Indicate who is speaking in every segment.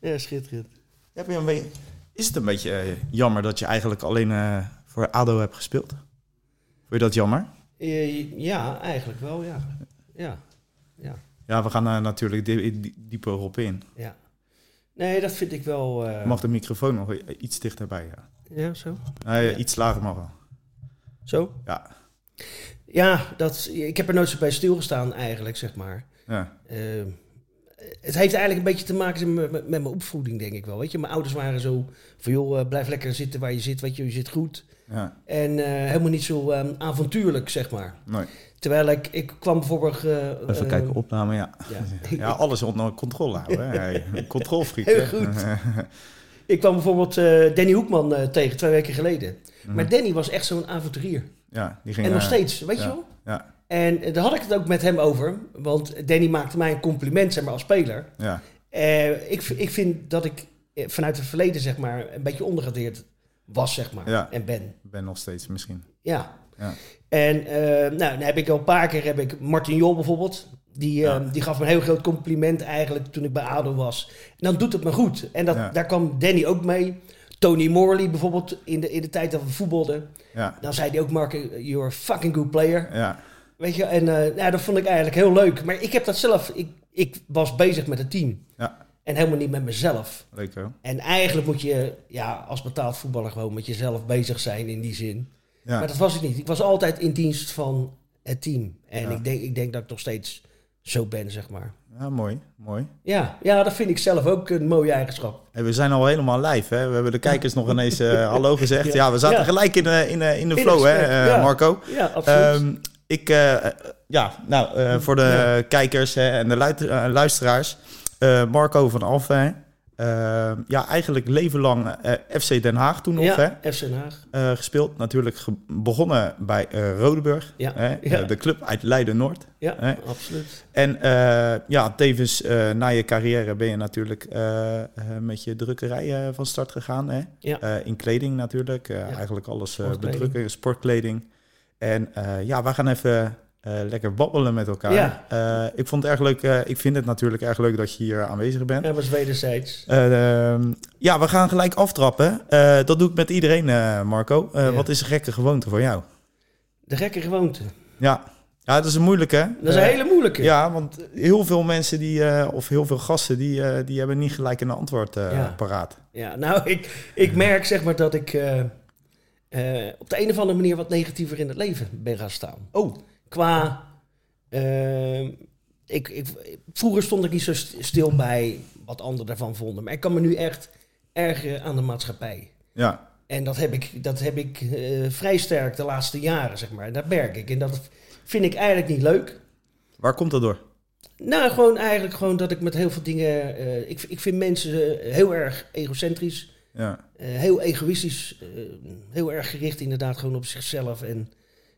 Speaker 1: Ja, schitterend. Heb je een beetje...
Speaker 2: Is het een beetje eh, jammer dat je eigenlijk alleen eh, voor ADO hebt gespeeld? Vond je dat jammer?
Speaker 1: Eh, Ja, eigenlijk wel, ja. Ja, ja,
Speaker 2: Ja, we gaan eh, natuurlijk die- die- dieper op in.
Speaker 1: ja. Nee, dat vind ik wel... eh,
Speaker 2: Mag de microfoon nog i- iets dichterbij? Ja.
Speaker 1: Ja, zo.
Speaker 2: Nee,
Speaker 1: Ja.
Speaker 2: iets lager mag wel.
Speaker 1: Zo?
Speaker 2: Ja.
Speaker 1: Ja, dat, ik heb er nooit zo bij stilgestaan eigenlijk, zeg maar.
Speaker 2: Ja.
Speaker 1: Eh, het heeft eigenlijk een beetje te maken met, met, met mijn opvoeding, denk ik wel. Weet je, mijn ouders waren zo van, joh, eh, blijf lekker zitten waar je zit, weet je, je zit goed.
Speaker 2: ja.
Speaker 1: En eh, helemaal niet zo eh, avontuurlijk, zeg maar.
Speaker 2: Nee.
Speaker 1: Terwijl ik, ik kwam bijvoorbeeld... eh,
Speaker 2: Even
Speaker 1: eh,
Speaker 2: kijken, opname, ja.
Speaker 1: Ja.
Speaker 2: Ja, alles onder controle houden. hè. Hey, een controlfreak.
Speaker 1: Heel
Speaker 2: hè.
Speaker 1: goed. Ik kwam bijvoorbeeld eh, Danny Hoekman eh, tegen twee weken geleden. Maar Danny was echt zo'n avonturier.
Speaker 2: Ja, die Mhm. ging,
Speaker 1: en nog
Speaker 2: eh,
Speaker 1: steeds, weet je
Speaker 2: ja.
Speaker 1: wel?
Speaker 2: Ja,
Speaker 1: En eh, daar had ik het ook met hem over. Want Danny maakte mij een compliment, zeg maar, als speler.
Speaker 2: ja,
Speaker 1: Eh, ik, v- ik vind dat ik eh, vanuit het verleden zeg maar, een beetje ondergewaardeerd was zeg maar,
Speaker 2: Ja.
Speaker 1: en ben.
Speaker 2: ik ben nog steeds misschien.
Speaker 1: Ja.
Speaker 2: Ja.
Speaker 1: En eh, nou, dan heb ik al een paar keer heb ik Martin Jol bijvoorbeeld. Die, eh,
Speaker 2: Ja.
Speaker 1: die gaf me een heel groot compliment eigenlijk toen ik bij ADO was. En dan doet het me goed. En dat,
Speaker 2: Ja.
Speaker 1: daar kwam Danny ook mee. Tony Morley bijvoorbeeld in de, in de tijd dat we voetbalden.
Speaker 2: Ja,
Speaker 1: Dan zei hij ook, Mark, you're a fucking good player.
Speaker 2: ja,
Speaker 1: Weet je, en eh, nou, dat vond ik eigenlijk heel leuk. Maar ik heb dat zelf, ik, ik was bezig met het team.
Speaker 2: Ja.
Speaker 1: En helemaal niet met mezelf.
Speaker 2: leuk wel.
Speaker 1: En eigenlijk moet je ja, als betaald voetballer gewoon met jezelf bezig zijn in die zin.
Speaker 2: Ja,
Speaker 1: Maar dat was ik niet. Ik was altijd in dienst van het team. En
Speaker 2: Ja.
Speaker 1: ik, denk, ik denk dat ik nog steeds zo ben, zeg maar.
Speaker 2: ja mooi, mooi.
Speaker 1: Ja, ja, dat vind ik zelf ook een mooie eigenschap.
Speaker 2: Hey, we zijn al helemaal live, hè? We hebben de kijkers nog ineens eh, hallo gezegd. Ja, we zaten
Speaker 1: Ja.
Speaker 2: gelijk in, de- in, de- in de
Speaker 1: In
Speaker 2: flow, hè,
Speaker 1: gesprek,
Speaker 2: eh,
Speaker 1: ja.
Speaker 2: Marco?
Speaker 1: Ja, absoluut.
Speaker 2: Ehm, ik, eh, eh, ja, nou, eh, voor de
Speaker 1: Ja.
Speaker 2: kijkers hè, en de luid- eh, luisteraars. eh, Marco van Alphen. eh, ja, eigenlijk leven lang eh, FC Den Haag toen nog,
Speaker 1: ja,
Speaker 2: hè?
Speaker 1: FC Den Haag.
Speaker 2: eh, gespeeld. Natuurlijk ge- begonnen bij eh, Rodeburg.
Speaker 1: Ja,
Speaker 2: Hè?
Speaker 1: ja.
Speaker 2: Eh, de club uit Leiden-Noord.
Speaker 1: Ja,
Speaker 2: Hè?
Speaker 1: absoluut.
Speaker 2: En eh, ja, tevens eh, na je carrière ben je natuurlijk eh, eh, met je drukkerij eh, van start gegaan. Hè?
Speaker 1: Ja.
Speaker 2: Eh, in kleding natuurlijk. Eh,
Speaker 1: Ja.
Speaker 2: Eigenlijk alles eh
Speaker 1: Sportkleding.
Speaker 2: bedrukken, sportkleding. En eh, ja, we gaan even eh, lekker babbelen met elkaar.
Speaker 1: Ja.
Speaker 2: Eh, ik vond het erg leuk. eh, ik vind het natuurlijk erg leuk dat je hier aanwezig bent.
Speaker 1: Ja, was wederzijds.
Speaker 2: Eh, ehm, ja, we gaan gelijk aftrappen. Eh, dat doe ik met iedereen, eh, Marco. Eh,
Speaker 1: Ja.
Speaker 2: Wat is een gekke gewoonte voor jou?
Speaker 1: De gekke gewoonte.
Speaker 2: Ja, ja dat is een moeilijke. hè?
Speaker 1: Dat is een
Speaker 2: Eh,
Speaker 1: hele moeilijke.
Speaker 2: Ja, want heel veel mensen die, eh, of heel veel gasten, die, eh, die hebben niet gelijk een antwoord eh,
Speaker 1: Ja.
Speaker 2: paraat.
Speaker 1: Ja, nou, ik, ik merk zeg maar dat ik eh, eh, op de een of andere manier wat negatiever in het leven ben gaan staan.
Speaker 2: Oh.
Speaker 1: Qua. eh, ik, ik, vroeger stond ik niet zo st- stil bij wat anderen daarvan vonden. Maar ik kan me nu echt ergeren aan de maatschappij.
Speaker 2: Ja,
Speaker 1: En dat heb ik, dat heb ik eh, vrij sterk de laatste jaren, zeg maar. En dat merk ik. En dat vind ik eigenlijk niet leuk.
Speaker 2: waar komt dat door?
Speaker 1: Nou, gewoon eigenlijk gewoon dat ik met heel veel dingen. eh, ik, ik vind mensen eh, heel erg egocentrisch.
Speaker 2: Ja,
Speaker 1: Eh, heel egoïstisch, eh, heel erg gericht inderdaad gewoon op zichzelf en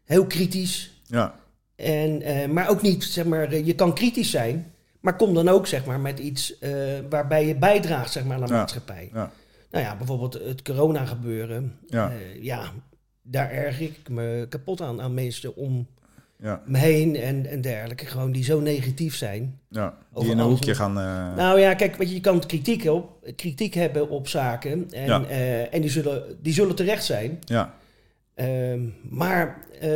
Speaker 1: heel kritisch.
Speaker 2: ja,
Speaker 1: En, eh, maar ook niet, zeg maar, eh, je kan kritisch zijn, maar kom dan ook zeg maar, met iets eh, waarbij je bijdraagt zeg maar, aan de
Speaker 2: Ja,
Speaker 1: maatschappij.
Speaker 2: ja.
Speaker 1: Nou ja, bijvoorbeeld het corona gebeuren. Eh,
Speaker 2: ja,
Speaker 1: ja, daar erg ik me kapot aan, aan mensen om
Speaker 2: ja,
Speaker 1: me heen en, en dergelijke. Gewoon die zo negatief zijn.
Speaker 2: ja. Die
Speaker 1: Over
Speaker 2: in een
Speaker 1: alles
Speaker 2: hoekje
Speaker 1: moet-
Speaker 2: gaan... eh,
Speaker 1: Nou ja, kijk, weet je, je kan kritiek, op, kritiek hebben op zaken. En,
Speaker 2: Ja.
Speaker 1: eh, en die, zullen, die zullen terecht zijn.
Speaker 2: ja,
Speaker 1: Ehm, maar eh,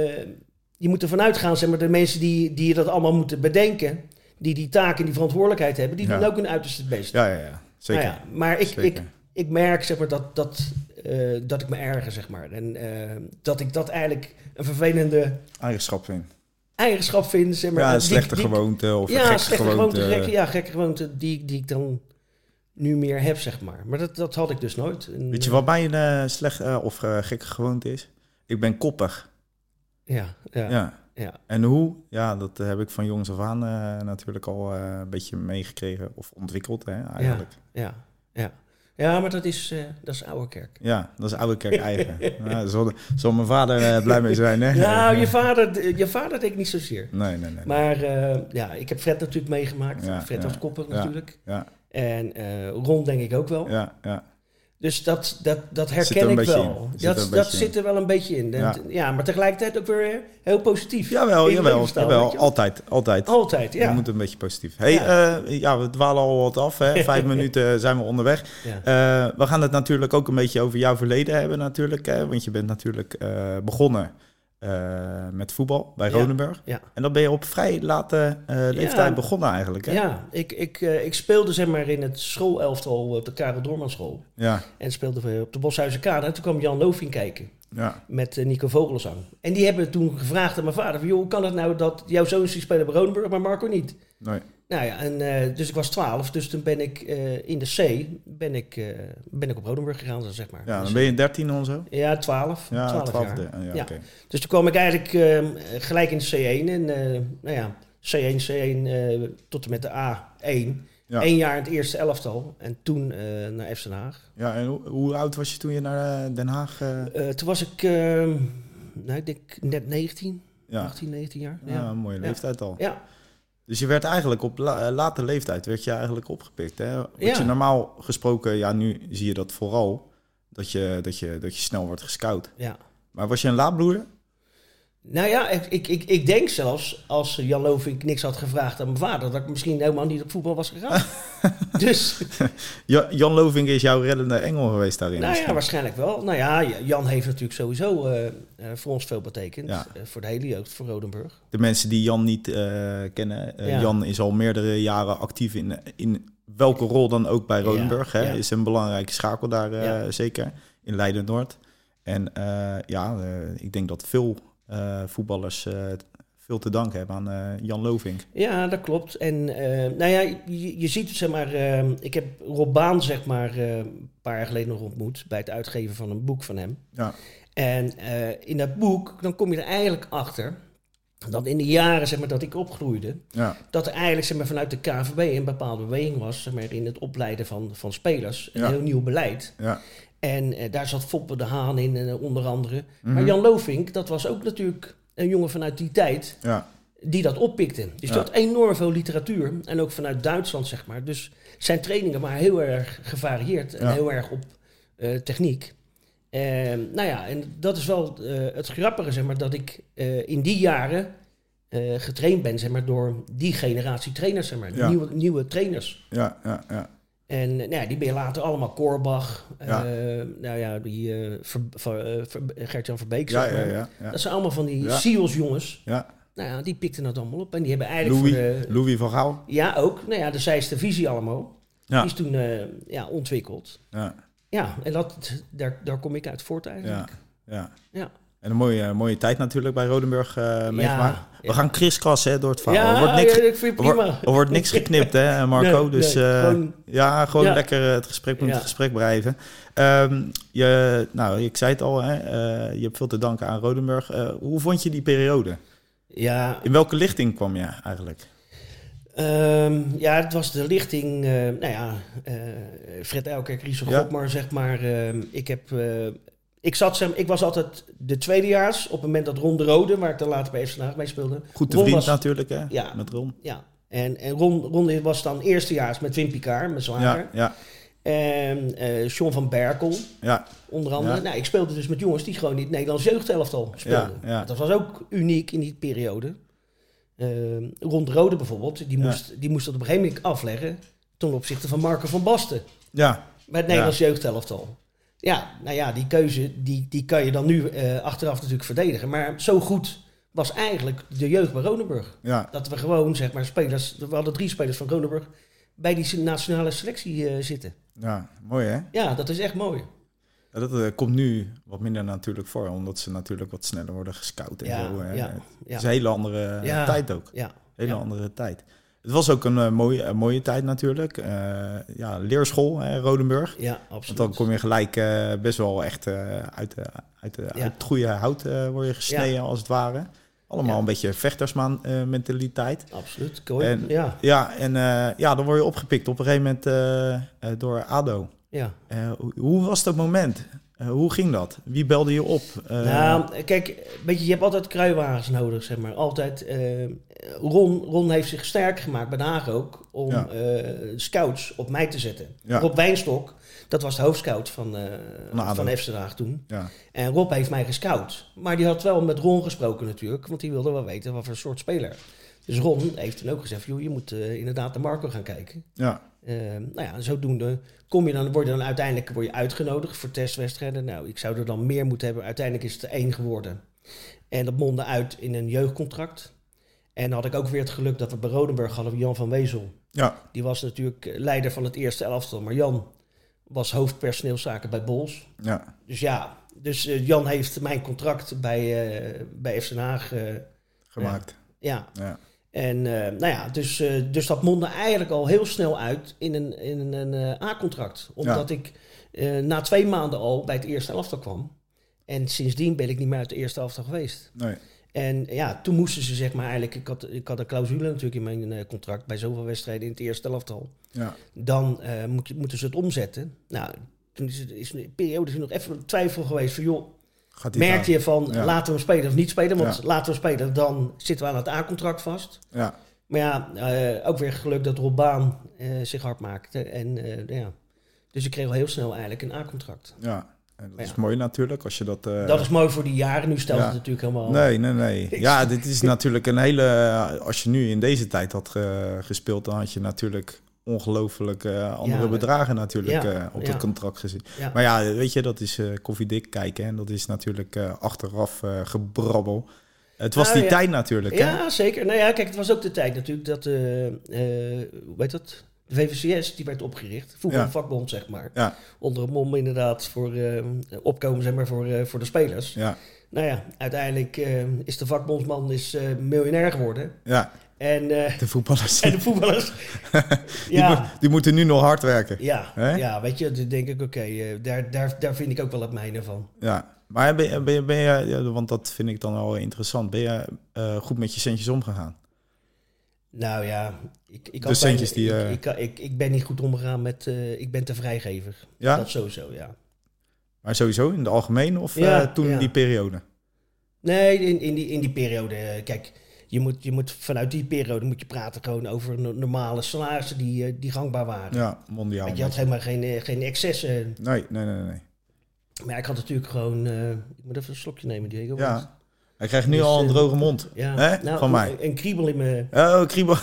Speaker 1: je moet ervan uitgaan, zeg maar, de mensen die, die dat allemaal moeten bedenken, die die taak en die verantwoordelijkheid hebben, die
Speaker 2: Ja.
Speaker 1: doen ook hun uiterste best.
Speaker 2: ja, ja, ja, zeker.
Speaker 1: Nou ja, maar ik,
Speaker 2: zeker.
Speaker 1: ik, ik merk zeg maar, dat, dat, eh, dat ik me erger, zeg maar. En eh, dat ik dat eigenlijk een vervelende
Speaker 2: Eigenschap in.
Speaker 1: eigenschap vind. Zeg maar,
Speaker 2: ja, een
Speaker 1: Die-
Speaker 2: slechte
Speaker 1: die-
Speaker 2: gewoonte of een
Speaker 1: Ja,
Speaker 2: gekke
Speaker 1: slechte
Speaker 2: gewoonte. eh.
Speaker 1: gewoonte, gekke, ja, gekke gewoonte die, die ik dan nu meer heb, zeg maar. Maar dat, dat had ik dus nooit. En,
Speaker 2: Weet je wat mij een eh, slecht eh, of eh, gekke gewoonte is? Ik ben koppig.
Speaker 1: Ja, ja,
Speaker 2: Ja.
Speaker 1: ja. ja.
Speaker 2: En hoe? Ja, dat heb ik van jongs af aan eh, natuurlijk al eh, een beetje meegekregen of ontwikkeld hè, eigenlijk.
Speaker 1: Ja, ja. Ja, maar dat is, eh, dat is oude kerk.
Speaker 2: Ja, dat is oude kerk eigen. ja, daar zal, zal mijn vader eh, blij mee zijn, hè?
Speaker 1: Nou, je vader, je vader deed ik niet zozeer.
Speaker 2: Nee, nee, nee.
Speaker 1: Maar eh, ja, ik heb Fred natuurlijk meegemaakt.
Speaker 2: Ja,
Speaker 1: Fred
Speaker 2: ja,
Speaker 1: was koppig
Speaker 2: ja.
Speaker 1: natuurlijk.
Speaker 2: Ja,
Speaker 1: En eh, Ron denk ik ook wel.
Speaker 2: ja, ja.
Speaker 1: Dus dat, dat, dat
Speaker 2: Zit er
Speaker 1: herken
Speaker 2: een
Speaker 1: ik
Speaker 2: beetje
Speaker 1: wel.
Speaker 2: in. Zit er
Speaker 1: dat
Speaker 2: een
Speaker 1: dat
Speaker 2: beetje
Speaker 1: zit er wel een beetje in. Dat-
Speaker 2: Ja.
Speaker 1: ja. maar tegelijkertijd ook weer heel positief.
Speaker 2: Jawel,
Speaker 1: In je
Speaker 2: jawel,
Speaker 1: levensstijl,
Speaker 2: jawel.
Speaker 1: weet je wel.
Speaker 2: Altijd, altijd.
Speaker 1: Altijd,
Speaker 2: We
Speaker 1: ja.
Speaker 2: moeten een beetje positief. Hey, ja.
Speaker 1: Ja.
Speaker 2: ja, we dwalen al wat af. Hè. Vijf minuten eh, zijn we onderweg.
Speaker 1: Ja.
Speaker 2: Eh, we gaan het natuurlijk ook een beetje over jouw verleden hebben natuurlijk. Hè, want je bent natuurlijk eh, begonnen eh, met voetbal bij
Speaker 1: Ja.
Speaker 2: Rodenburg.
Speaker 1: Ja.
Speaker 2: En dan ben je op vrij late eh, leeftijd
Speaker 1: Ja.
Speaker 2: begonnen eigenlijk. Hè?
Speaker 1: Ja, ik, ik, eh, ik speelde zeg maar in het schoolelftal op de Karel Doormanschool.
Speaker 2: ja,
Speaker 1: En speelde we op de Boshuizen Kade. En toen kwam Jan Loving kijken
Speaker 2: ja.
Speaker 1: met eh, Nico Vogelsang. En die hebben toen gevraagd aan mijn vader... Van, joh, hoe kan het nou dat jouw zoon is die spelen bij Rodenburg, maar Marco niet?
Speaker 2: Nee.
Speaker 1: Nou ja, en, eh, dus ik was 12, dus toen ben ik eh, in de C ben ik, eh, ben ik op Rodenburg gegaan, zeg maar.
Speaker 2: ja, dan
Speaker 1: Dus-
Speaker 2: ben je 13 of zo.
Speaker 1: ja, 12.
Speaker 2: Ja,
Speaker 1: 12 jaar.
Speaker 2: twaalfde. Ja,
Speaker 1: Ja.
Speaker 2: oké.
Speaker 1: Dus toen kwam ik eigenlijk ehm, gelijk in de C1. En eh, nou ja, C1, C1 eh, tot en met de A1.
Speaker 2: Ja.
Speaker 1: Eén jaar in het eerste elftal. En toen eh, naar FC Den Haag.
Speaker 2: ja, en hoe, hoe oud was je toen je naar eh, Den Haag... eh,
Speaker 1: Eh, toen was ik, ehm, nou, ik denk net 19,
Speaker 2: ja.
Speaker 1: 18, 19 jaar.
Speaker 2: Ja,
Speaker 1: Ja.
Speaker 2: een mooie
Speaker 1: Ja.
Speaker 2: leeftijd al.
Speaker 1: Ja.
Speaker 2: Dus je werd eigenlijk op la- eh, late leeftijd werd je eigenlijk opgepikt. Hè? Wat
Speaker 1: Ja.
Speaker 2: je normaal gesproken, ja, nu zie je dat vooral. Dat je, dat je, dat je snel wordt gescout.
Speaker 1: ja.
Speaker 2: Maar was je een laadbloeier?
Speaker 1: Nou ja, ik, ik, ik, ik denk zelfs als Jan Lovink niks had gevraagd aan mijn vader, dat ik misschien helemaal niet op voetbal was gegaan. dus
Speaker 2: Ja, Jan Lovink is jouw reddende engel geweest daarin.
Speaker 1: Nou ja,
Speaker 2: misschien.
Speaker 1: waarschijnlijk wel. Nou ja, J- Jan heeft natuurlijk sowieso eh, eh, voor ons veel betekend.
Speaker 2: Ja.
Speaker 1: Eh, voor de hele jeugd, voor Rodenburg.
Speaker 2: De mensen die Jan niet eh, kennen. eh,
Speaker 1: Ja.
Speaker 2: Jan is al meerdere jaren actief in, in welke rol dan ook bij Rodenburg.
Speaker 1: Ja,
Speaker 2: Hè?
Speaker 1: ja.
Speaker 2: Is een belangrijke schakel daar eh,
Speaker 1: Ja.
Speaker 2: zeker. In Leiden-Noord. En eh, ja, eh, ik denk dat veel eh, voetballers eh, veel te danken hebben aan eh, Jan Lovink.
Speaker 1: Ja, dat klopt. En eh, nou ja, je, je ziet het, zeg maar, eh, ik heb Rob Baan zeg maar eh, een paar jaar geleden nog ontmoet bij het uitgeven van een boek van hem.
Speaker 2: Ja.
Speaker 1: En eh, in dat boek, dan kom je er eigenlijk achter dat in de jaren zeg maar, dat ik opgroeide,
Speaker 2: Ja,
Speaker 1: dat er eigenlijk zeg maar, vanuit de KVB een bepaalde beweging was zeg maar, in het opleiden van, van spelers. Een
Speaker 2: Ja.
Speaker 1: heel nieuw beleid.
Speaker 2: ja,
Speaker 1: En eh, daar zat Foppe de Haan in, en onder andere. Maar Jan Lovink, dat was ook natuurlijk een jongen vanuit die tijd
Speaker 2: ja.
Speaker 1: die dat oppikte. Dus
Speaker 2: Ja.
Speaker 1: dat enorm veel literatuur. En ook vanuit Duitsland, zeg maar. Dus zijn trainingen waren heel erg gevarieerd en
Speaker 2: Ja.
Speaker 1: heel erg op eh, techniek. En, nou ja, en dat is wel eh, het grappige, zeg maar, dat ik eh, in die jaren eh, getraind ben, zeg maar, door die generatie trainers, zeg maar.
Speaker 2: Ja.
Speaker 1: Nieuwe, nieuwe trainers.
Speaker 2: ja, ja, ja.
Speaker 1: En eh, nou ja, die ben je later allemaal Korbach. eh,
Speaker 2: Ja.
Speaker 1: nou ja, die eh Ver- Ver- eh, Ver- Gert-Jan Verbeek.
Speaker 2: Ja,
Speaker 1: zeg
Speaker 2: ja,
Speaker 1: maar.
Speaker 2: ja, ja.
Speaker 1: Dat zijn allemaal van die
Speaker 2: Ja.
Speaker 1: Sios jongens.
Speaker 2: ja.
Speaker 1: Nou ja, die pikten dat allemaal op. En die hebben eigenlijk
Speaker 2: Louis,
Speaker 1: voor de-
Speaker 2: Louis van Gaal.
Speaker 1: Ja, ook. Nou ja, de zijste visie allemaal.
Speaker 2: Ja.
Speaker 1: Die is toen eh, ja, ontwikkeld.
Speaker 2: Ja,
Speaker 1: Ja, en dat, daar, daar kom ik uit voort
Speaker 2: ja,
Speaker 1: eigenlijk.
Speaker 2: ja.
Speaker 1: Ja.
Speaker 2: En een mooie, mooie tijd natuurlijk bij Rodenburg eh, meegemaakt. We
Speaker 1: ja.
Speaker 2: gaan kriskras hè, door het verhaal.
Speaker 1: Ja,
Speaker 2: Nou, er, wordt niks,
Speaker 1: ja, ik vind het
Speaker 2: er,
Speaker 1: prima.
Speaker 2: wordt, er wordt niks geknipt, hè, Marco.
Speaker 1: Nee,
Speaker 2: dus
Speaker 1: nee,
Speaker 2: eh,
Speaker 1: gewoon-
Speaker 2: ja, gewoon
Speaker 1: Ja.
Speaker 2: lekker eh, het gesprek moet
Speaker 1: Ja.
Speaker 2: het gesprek blijven. Ehm, je, nou, ik zei het al, hè, eh, je hebt veel te danken aan Rodenburg. Eh, hoe vond je die periode?
Speaker 1: Ja,
Speaker 2: In welke lichting kwam je eigenlijk?
Speaker 1: Ehm, ja, het was de lichting, eh, nou ja, eh, Fred Elkerk, Ries
Speaker 2: Ja.
Speaker 1: ja. maar zeg maar. ehm, ik, heb, eh, ik, zat, zeg- ik was altijd de tweedejaars op het moment dat Ron de Rode, waar ik dan later bij FC Den Haag mee speelde.
Speaker 2: Goed te
Speaker 1: Ron
Speaker 2: vriend
Speaker 1: was-
Speaker 2: natuurlijk, hè?
Speaker 1: Ja.
Speaker 2: Met Ron.
Speaker 1: Ja, en, en Ron, Ron was dan eerstejaars met Wim Picard, mijn zwager.
Speaker 2: Ja, ja,
Speaker 1: En eh John van Berkel,
Speaker 2: ja.
Speaker 1: onder andere.
Speaker 2: Ja.
Speaker 1: Nou, ik speelde dus met jongens die gewoon in het Nederlands jeugdelftal speelden.
Speaker 2: Ja, ja.
Speaker 1: Dat was ook uniek in die periode. Ehm Ron de Rode bijvoorbeeld, die
Speaker 2: Ja.
Speaker 1: moest, die moest dat op een gegeven moment afleggen ten opzichte van Marco van Basten.
Speaker 2: ja.
Speaker 1: Bij het Nederlands jeugdelftal. Ja, nou ja, die keuze die, die kan je dan nu eh, achteraf natuurlijk verdedigen. Maar zo goed was eigenlijk de jeugd bij Rodenburg.
Speaker 2: ja.
Speaker 1: Dat we gewoon, zeg maar, spelers... We hadden drie spelers van Rodenburg bij die nationale selectie eh, zitten.
Speaker 2: Ja, mooi hè?
Speaker 1: Ja, dat is echt mooi.
Speaker 2: Ja, Dat eh, komt nu wat minder natuurlijk voor, omdat ze natuurlijk wat sneller worden gescout en
Speaker 1: Ja,
Speaker 2: zo. hè.
Speaker 1: ja,
Speaker 2: eh, Het is
Speaker 1: ja,
Speaker 2: een hele andere eh,
Speaker 1: Ja.
Speaker 2: tijd ook.
Speaker 1: ja.
Speaker 2: Hele
Speaker 1: Ja.
Speaker 2: andere tijd. Het was ook een eh, mooie, een mooie tijd natuurlijk. Eh, ja, leerschool, hè, Rodenburg.
Speaker 1: Ja,
Speaker 2: Want
Speaker 1: absoluut.
Speaker 2: dan kom je gelijk eh, best wel echt eh, uit, de- uit, de-
Speaker 1: Ja.
Speaker 2: uit het goede hout eh, word je gesneden als het ware. Allemaal
Speaker 1: Ja.
Speaker 2: een beetje vechtersman eh, mentaliteit.
Speaker 1: Absoluut, kooi.
Speaker 2: En-
Speaker 1: ja,
Speaker 2: Ja, en eh, ja, dan word je opgepikt op een gegeven moment eh, eh, door ADO.
Speaker 1: ja.
Speaker 2: Eh, hoe- hoe was dat moment? Eh, hoe ging dat? Wie belde je op? Eh,
Speaker 1: nou, kijk, weet je, je hebt altijd kruiwagens nodig, zeg maar. Altijd. eh, Ron, Ron heeft zich sterk gemaakt, bij Den Haag ook, om
Speaker 2: Ja.
Speaker 1: eh, scouts op mij te zetten.
Speaker 2: Ja.
Speaker 1: Rob Wijnstok, dat was de hoofdscout van, eh
Speaker 2: ADO.
Speaker 1: van FC Den Haag toen.
Speaker 2: ja.
Speaker 1: En Rob heeft mij gescout. Maar die had wel met Ron gesproken natuurlijk, want die wilde wel weten wat voor soort speler. Dus Ron heeft toen ook gezegd, joh, je moet eh, inderdaad naar Marco gaan kijken.
Speaker 2: Ja.
Speaker 1: Eh, nou ja, zodoende kom je dan, word je dan uiteindelijk word je uitgenodigd voor testwedstrijden. Nou, ik zou er dan meer moeten hebben. Uiteindelijk is het er één geworden. En dat mondde uit in een jeugdcontract. En dan had ik ook weer het geluk dat we bij Rodenburg hadden we Jan van Wezel.
Speaker 2: Ja.
Speaker 1: Die was natuurlijk eh, leider van het eerste elftal. Maar Jan was hoofdpersoneelszaken bij Bols.
Speaker 2: ja.
Speaker 1: Dus ja, dus eh, Jan heeft mijn contract bij, eh bij FC Den Haag. eh,
Speaker 2: Gemaakt.
Speaker 1: ja,
Speaker 2: Ja.
Speaker 1: en eh, nou ja, dus, eh, dus dat mondde eigenlijk al heel snel uit in een, in een, eh, A-contract. Omdat ik eh, na twee maanden al bij het eerste elftal kwam. En sindsdien ben ik niet meer uit de eerste elftal geweest.
Speaker 2: Nee.
Speaker 1: En ja, toen moesten ze zeg maar eigenlijk... Ik had, ik had een clausule natuurlijk in mijn eh, contract bij zoveel wedstrijden in het eerste elftal.
Speaker 2: Ja.
Speaker 1: Dan eh, moet je- moeten ze het omzetten. Nou, toen is, het, is een periode is er nog even een twijfel geweest van... joh,
Speaker 2: Gaat die
Speaker 1: merk
Speaker 2: gaan?
Speaker 1: je van
Speaker 2: Ja.
Speaker 1: laten we hem spelen of niet spelen? Want
Speaker 2: Ja.
Speaker 1: laten we spelen, dan zitten we aan het A-contract vast.
Speaker 2: Ja.
Speaker 1: Maar ja, eh, ook weer geluk dat Rob Baan eh, zich hard maakte. En, eh, nou ja. Dus ik kreeg al heel snel eigenlijk een A-contract.
Speaker 2: Ja. En dat
Speaker 1: Ja.
Speaker 2: is mooi natuurlijk als je dat... eh,
Speaker 1: dat is mooi voor die jaren. Nu stelt
Speaker 2: ja.
Speaker 1: het natuurlijk helemaal...
Speaker 2: Nee, nee, nee. Ja, dit is natuurlijk een hele... eh, Als je nu in deze tijd had ge- gespeeld, dan had je natuurlijk ongelooflijk eh, andere
Speaker 1: Ja.
Speaker 2: bedragen natuurlijk
Speaker 1: Ja,
Speaker 2: eh, op
Speaker 1: ja.
Speaker 2: het contract gezien.
Speaker 1: Ja.
Speaker 2: Maar ja, weet je, dat is eh koffiedik kijken en dat is natuurlijk eh, achteraf eh, gebrabbel. Het was
Speaker 1: Nou,
Speaker 2: die
Speaker 1: ja.
Speaker 2: tijd natuurlijk, hè?
Speaker 1: Ja, zeker. Nou ja, kijk, het was ook de tijd natuurlijk dat... eh, eh, hoe heet dat? De VVCS, die werd opgericht. Voetbal
Speaker 2: Ja.
Speaker 1: vakbond, zeg maar.
Speaker 2: Ja.
Speaker 1: Onder een mom inderdaad voor eh, opkomen, zeg maar, voor, eh, voor de spelers.
Speaker 2: Ja,
Speaker 1: Nou ja, uiteindelijk eh, is de vakbondsman is, eh, miljonair geworden.
Speaker 2: ja.
Speaker 1: En, eh,
Speaker 2: De voetballers,
Speaker 1: en
Speaker 2: die,
Speaker 1: de voetballers...
Speaker 2: mo- die moeten nu nog hard werken.
Speaker 1: Ja,
Speaker 2: Hè?
Speaker 1: ja weet je, dan denk ik, oké, eh, daar, daar, daar vind ik ook wel het mijne van.
Speaker 2: Ja. Maar ben je, ben je, ben je- ja, want dat vind ik dan al interessant, ben je eh, goed met je centjes omgegaan?
Speaker 1: Nou ja, ik, ik,
Speaker 2: De
Speaker 1: had
Speaker 2: centjes
Speaker 1: bijna-
Speaker 2: die,
Speaker 1: ik-
Speaker 2: eh,
Speaker 1: ik, ik, ik, ben niet goed omgegaan met, eh, ik ben te vrijgever.
Speaker 2: Ja?
Speaker 1: Dat sowieso, ja.
Speaker 2: Maar sowieso in het algemeen of eh,
Speaker 1: Ja,
Speaker 2: toen
Speaker 1: ja.
Speaker 2: die periode?
Speaker 1: Nee, in, in, die, in die periode, eh, kijk, je moet, je moet vanuit die periode moet je praten gewoon over no- normale salarissen die, eh, die gangbaar waren.
Speaker 2: Ja, mondiaal.
Speaker 1: Want je had helemaal geen, eh, geen excessen.
Speaker 2: Nee, nee, nee, nee.
Speaker 1: Maar ik had natuurlijk gewoon... eh, ik moet even een slokje nemen, Diego. want-
Speaker 2: Ja. Hij krijgt nu
Speaker 1: Dus,
Speaker 2: al een
Speaker 1: eh,
Speaker 2: droge mond.
Speaker 1: ja.
Speaker 2: Hè?
Speaker 1: Nou,
Speaker 2: Van mij.
Speaker 1: Een, een kriebel in mijn...
Speaker 2: Oh, kriebel.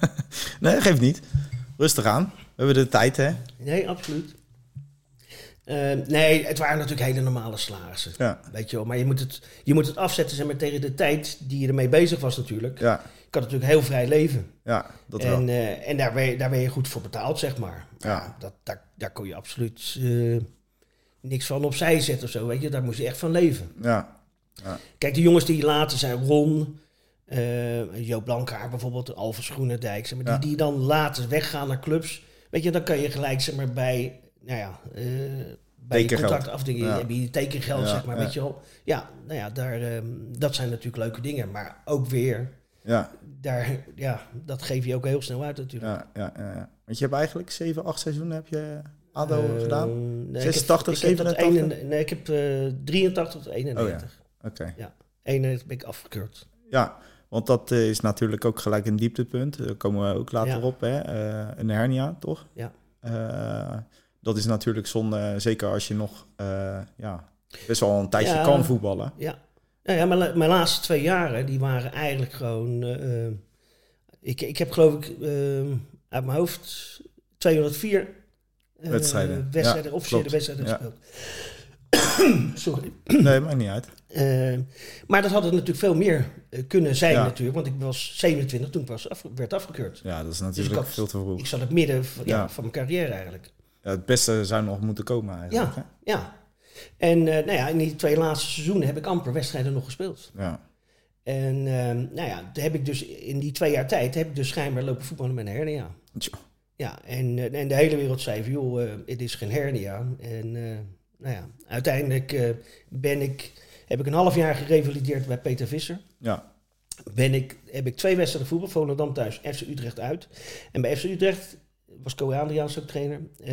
Speaker 2: nee, geeft niet. Rustig aan. We hebben de tijd, hè?
Speaker 1: Nee, absoluut. Eh, nee, het waren natuurlijk hele normale salarissen.
Speaker 2: Ja.
Speaker 1: Weet je wel, maar je moet het, je moet het afzetten zeg maar, tegen de tijd die je ermee bezig was natuurlijk.
Speaker 2: Ja,
Speaker 1: Ik had natuurlijk heel vrij leven.
Speaker 2: ja dat wel.
Speaker 1: en eh, en daar, ben je, daar ben je goed voor betaald, zeg maar.
Speaker 2: Ja.
Speaker 1: Dat, daar, daar kon je absoluut eh, niks van opzij zetten of zo, weet je. Daar moest je echt van leven.
Speaker 2: Ja,
Speaker 1: Kijk, de jongens die later zijn, Ron, eh Joop Blankaart bijvoorbeeld, Alves Groenendijk, zeg maar,
Speaker 2: Ja.
Speaker 1: die, die dan later weggaan naar clubs. Weet je, dan kan je gelijk zeg maar, bij, nou ja, eh, bij die
Speaker 2: Tekengeld.
Speaker 1: contractafdingen
Speaker 2: Ja.
Speaker 1: heb je die tekengeld,
Speaker 2: Ja,
Speaker 1: zeg maar,
Speaker 2: ja.
Speaker 1: weet je wel. Ja, nou ja, daar, ehm, dat zijn natuurlijk leuke dingen, maar ook weer,
Speaker 2: ja,
Speaker 1: daar, ja, dat geef je ook heel snel uit natuurlijk.
Speaker 2: ja, ja, ja, ja. Want je hebt eigenlijk 7, 8 seizoenen heb je ADO
Speaker 1: Eh,
Speaker 2: gedaan? Oké.
Speaker 1: nee,
Speaker 2: 86,
Speaker 1: ik heb, ik heb tot
Speaker 2: 87?
Speaker 1: een- nee, ik heb eh, 83 tot
Speaker 2: Oh
Speaker 1: 91. Eén ben ik afgekeurd.
Speaker 2: Ja, want dat eh, is natuurlijk ook gelijk een dieptepunt. Daar komen we ook later
Speaker 1: Ja.
Speaker 2: op, hè? Eh, een hernia, toch?
Speaker 1: Ja.
Speaker 2: Eh, dat is natuurlijk zonde, zeker als je nog eh, ja, best wel een tijdje
Speaker 1: Ja.
Speaker 2: kan voetballen.
Speaker 1: Ja, nou ja mijn, mijn laatste twee jaren die waren eigenlijk gewoon. eh, eh, ik, ik heb geloof ik eh, uit mijn hoofd 204 eh,
Speaker 2: Wedstrijden.
Speaker 1: wedstrijden
Speaker 2: Ja,
Speaker 1: officiële
Speaker 2: klopt.
Speaker 1: wedstrijden
Speaker 2: Ja.
Speaker 1: gespeeld. Sorry.
Speaker 2: Nee, maakt niet uit.
Speaker 1: Eh, maar dat had het natuurlijk veel meer eh, kunnen zijn,
Speaker 2: Ja.
Speaker 1: natuurlijk. Want ik was 27 toen ik was afge- werd afgekeurd.
Speaker 2: Ja, dat is natuurlijk
Speaker 1: had-
Speaker 2: veel te vroeg.
Speaker 1: Ik zat in het midden van, ja,
Speaker 2: Ja.
Speaker 1: van mijn carrière eigenlijk.
Speaker 2: Ja, het beste zou nog moeten komen eigenlijk. hè?
Speaker 1: Ja. En eh, nou ja, in die twee laatste seizoenen heb ik amper wedstrijden nog gespeeld.
Speaker 2: Ja.
Speaker 1: En ehm, nou ja, toen heb ik dus in die twee jaar tijd heb ik dus schijnbaar lopen voetballen met een hernia.
Speaker 2: Tjo.
Speaker 1: Ja, en, eh, en de hele wereld zei van, joh, eh, het is geen hernia. En eh, nou ja, uiteindelijk eh, ben ik, heb ik een half jaar gerevalideerd bij Peter Visser.
Speaker 2: Ja.
Speaker 1: Ben ik, heb ik twee wedstrijden voetbal, Volendam thuis, FC Utrecht uit. En bij FC Utrecht was Kooi Adriaans ook trainer. eh,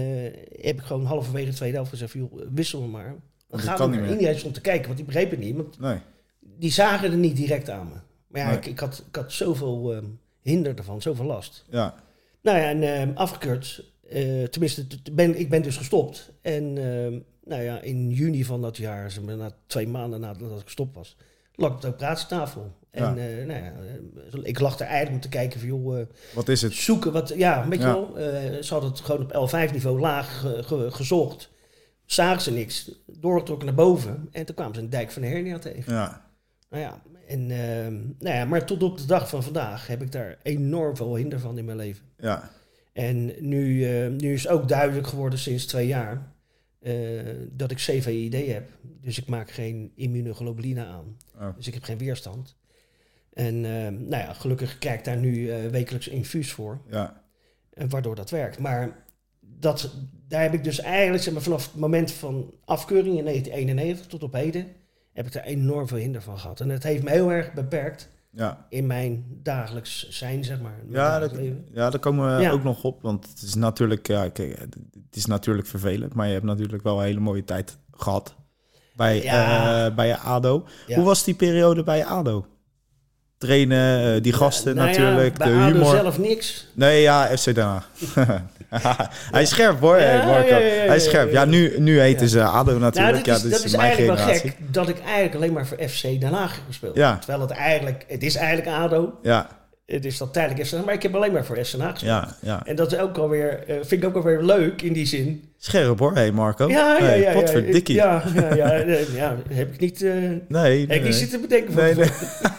Speaker 1: heb ik gewoon halverwege de tweede helft gezegd, joh, wissel hem maar. Dan
Speaker 2: dit
Speaker 1: gaat
Speaker 2: kan
Speaker 1: het
Speaker 2: niet
Speaker 1: maar.
Speaker 2: meer.
Speaker 1: Iedereen stond te kijken, want die begreep het niet. Want
Speaker 2: Nee.
Speaker 1: die zagen er niet direct aan me. Maar ja,
Speaker 2: Nee.
Speaker 1: ik, ik, had, ik had zoveel ehm, hinder ervan, zoveel last.
Speaker 2: Ja.
Speaker 1: Nou ja, en ehm, afgekeurd. eh, tenminste, t- t- ben, ik ben dus gestopt. En ehm, nou ja, in juni van dat jaar, zeg maar, na twee maanden nadat ik gestopt was, lag ik op de operatietafel. En
Speaker 2: Ja.
Speaker 1: eh, nou ja, eh, ik lag er eigenlijk om te kijken van, joh, eh,
Speaker 2: Wat is het?
Speaker 1: zoeken wat, ja, weet je
Speaker 2: Ja.
Speaker 1: wel. eh, ze hadden het gewoon op L5 niveau laag ge- ge- gezocht. Zagen ze niks, doorgetrokken naar boven. En toen kwamen ze een dijk van de hernia tegen.
Speaker 2: Ja.
Speaker 1: Nou ja, en, ehm, nou ja, maar tot op de dag van vandaag heb ik daar enorm veel hinder van in mijn leven.
Speaker 2: Ja.
Speaker 1: En nu, eh, nu is ook duidelijk geworden sinds twee jaar eh, dat ik CVID heb. Dus ik maak geen immunoglobuline aan.
Speaker 2: Oh.
Speaker 1: Dus ik heb geen weerstand. En eh, nou ja, gelukkig krijg ik daar nu eh, wekelijks infuus voor,
Speaker 2: Ja.
Speaker 1: eh, waardoor dat werkt. Maar dat, daar heb ik dus eigenlijk zeg maar, vanaf het moment van afkeuring in 1991 tot op heden, heb ik daar enorm veel hinder van gehad. En dat heeft me heel erg beperkt
Speaker 2: Ja.
Speaker 1: in mijn dagelijks zijn, zeg maar. Mijn
Speaker 2: Ja, dat,
Speaker 1: dagelijks leven.
Speaker 2: ja, daar komen we
Speaker 1: Ja.
Speaker 2: ook nog op. Want het is natuurlijk, ja, kijk, het is natuurlijk vervelend. Maar je hebt natuurlijk wel een hele mooie tijd gehad bij,
Speaker 1: Ja.
Speaker 2: eh, bij je ADO.
Speaker 1: Ja.
Speaker 2: Hoe was die periode bij je ADO? Trainen, eh, die gasten
Speaker 1: Nou ja,
Speaker 2: natuurlijk,
Speaker 1: bij
Speaker 2: de
Speaker 1: ADO
Speaker 2: humor.
Speaker 1: zelf niks. Nou,
Speaker 2: Nee, ja, FC Den Haag. Hij is scherp hoor,
Speaker 1: Ja,
Speaker 2: hey, Marco.
Speaker 1: ja, ja, ja,
Speaker 2: Hij is scherp. Ja, nu, nu heten
Speaker 1: Ja.
Speaker 2: ze ADO
Speaker 1: Nou,
Speaker 2: natuurlijk.
Speaker 1: dat is,
Speaker 2: ja, dus
Speaker 1: dat is
Speaker 2: mijn
Speaker 1: eigenlijk
Speaker 2: generatie.
Speaker 1: wel gek dat ik eigenlijk alleen maar voor FC Den Haag heb gespeeld.
Speaker 2: Ja.
Speaker 1: Terwijl het eigenlijk, het is eigenlijk ADO,
Speaker 2: Ja,
Speaker 1: het is dan tijdelijk FC Den Haag, maar ik heb alleen maar voor FC Den Haag gespeeld.
Speaker 2: ja, ja.
Speaker 1: En dat is ook alweer, eh, vind ik ook alweer leuk in die zin.
Speaker 2: Scherp hoor, hey, Marco.
Speaker 1: ja, ja,
Speaker 2: Oh, Hey,
Speaker 1: ja.
Speaker 2: potverdikkie.
Speaker 1: Ja, ja, ja, ja, eh, ja, heb ik niet, eh, heb
Speaker 2: Nee, nee,
Speaker 1: ik niet
Speaker 2: nee.
Speaker 1: zitten bedenken van
Speaker 2: Nee, nee.
Speaker 1: tevoren.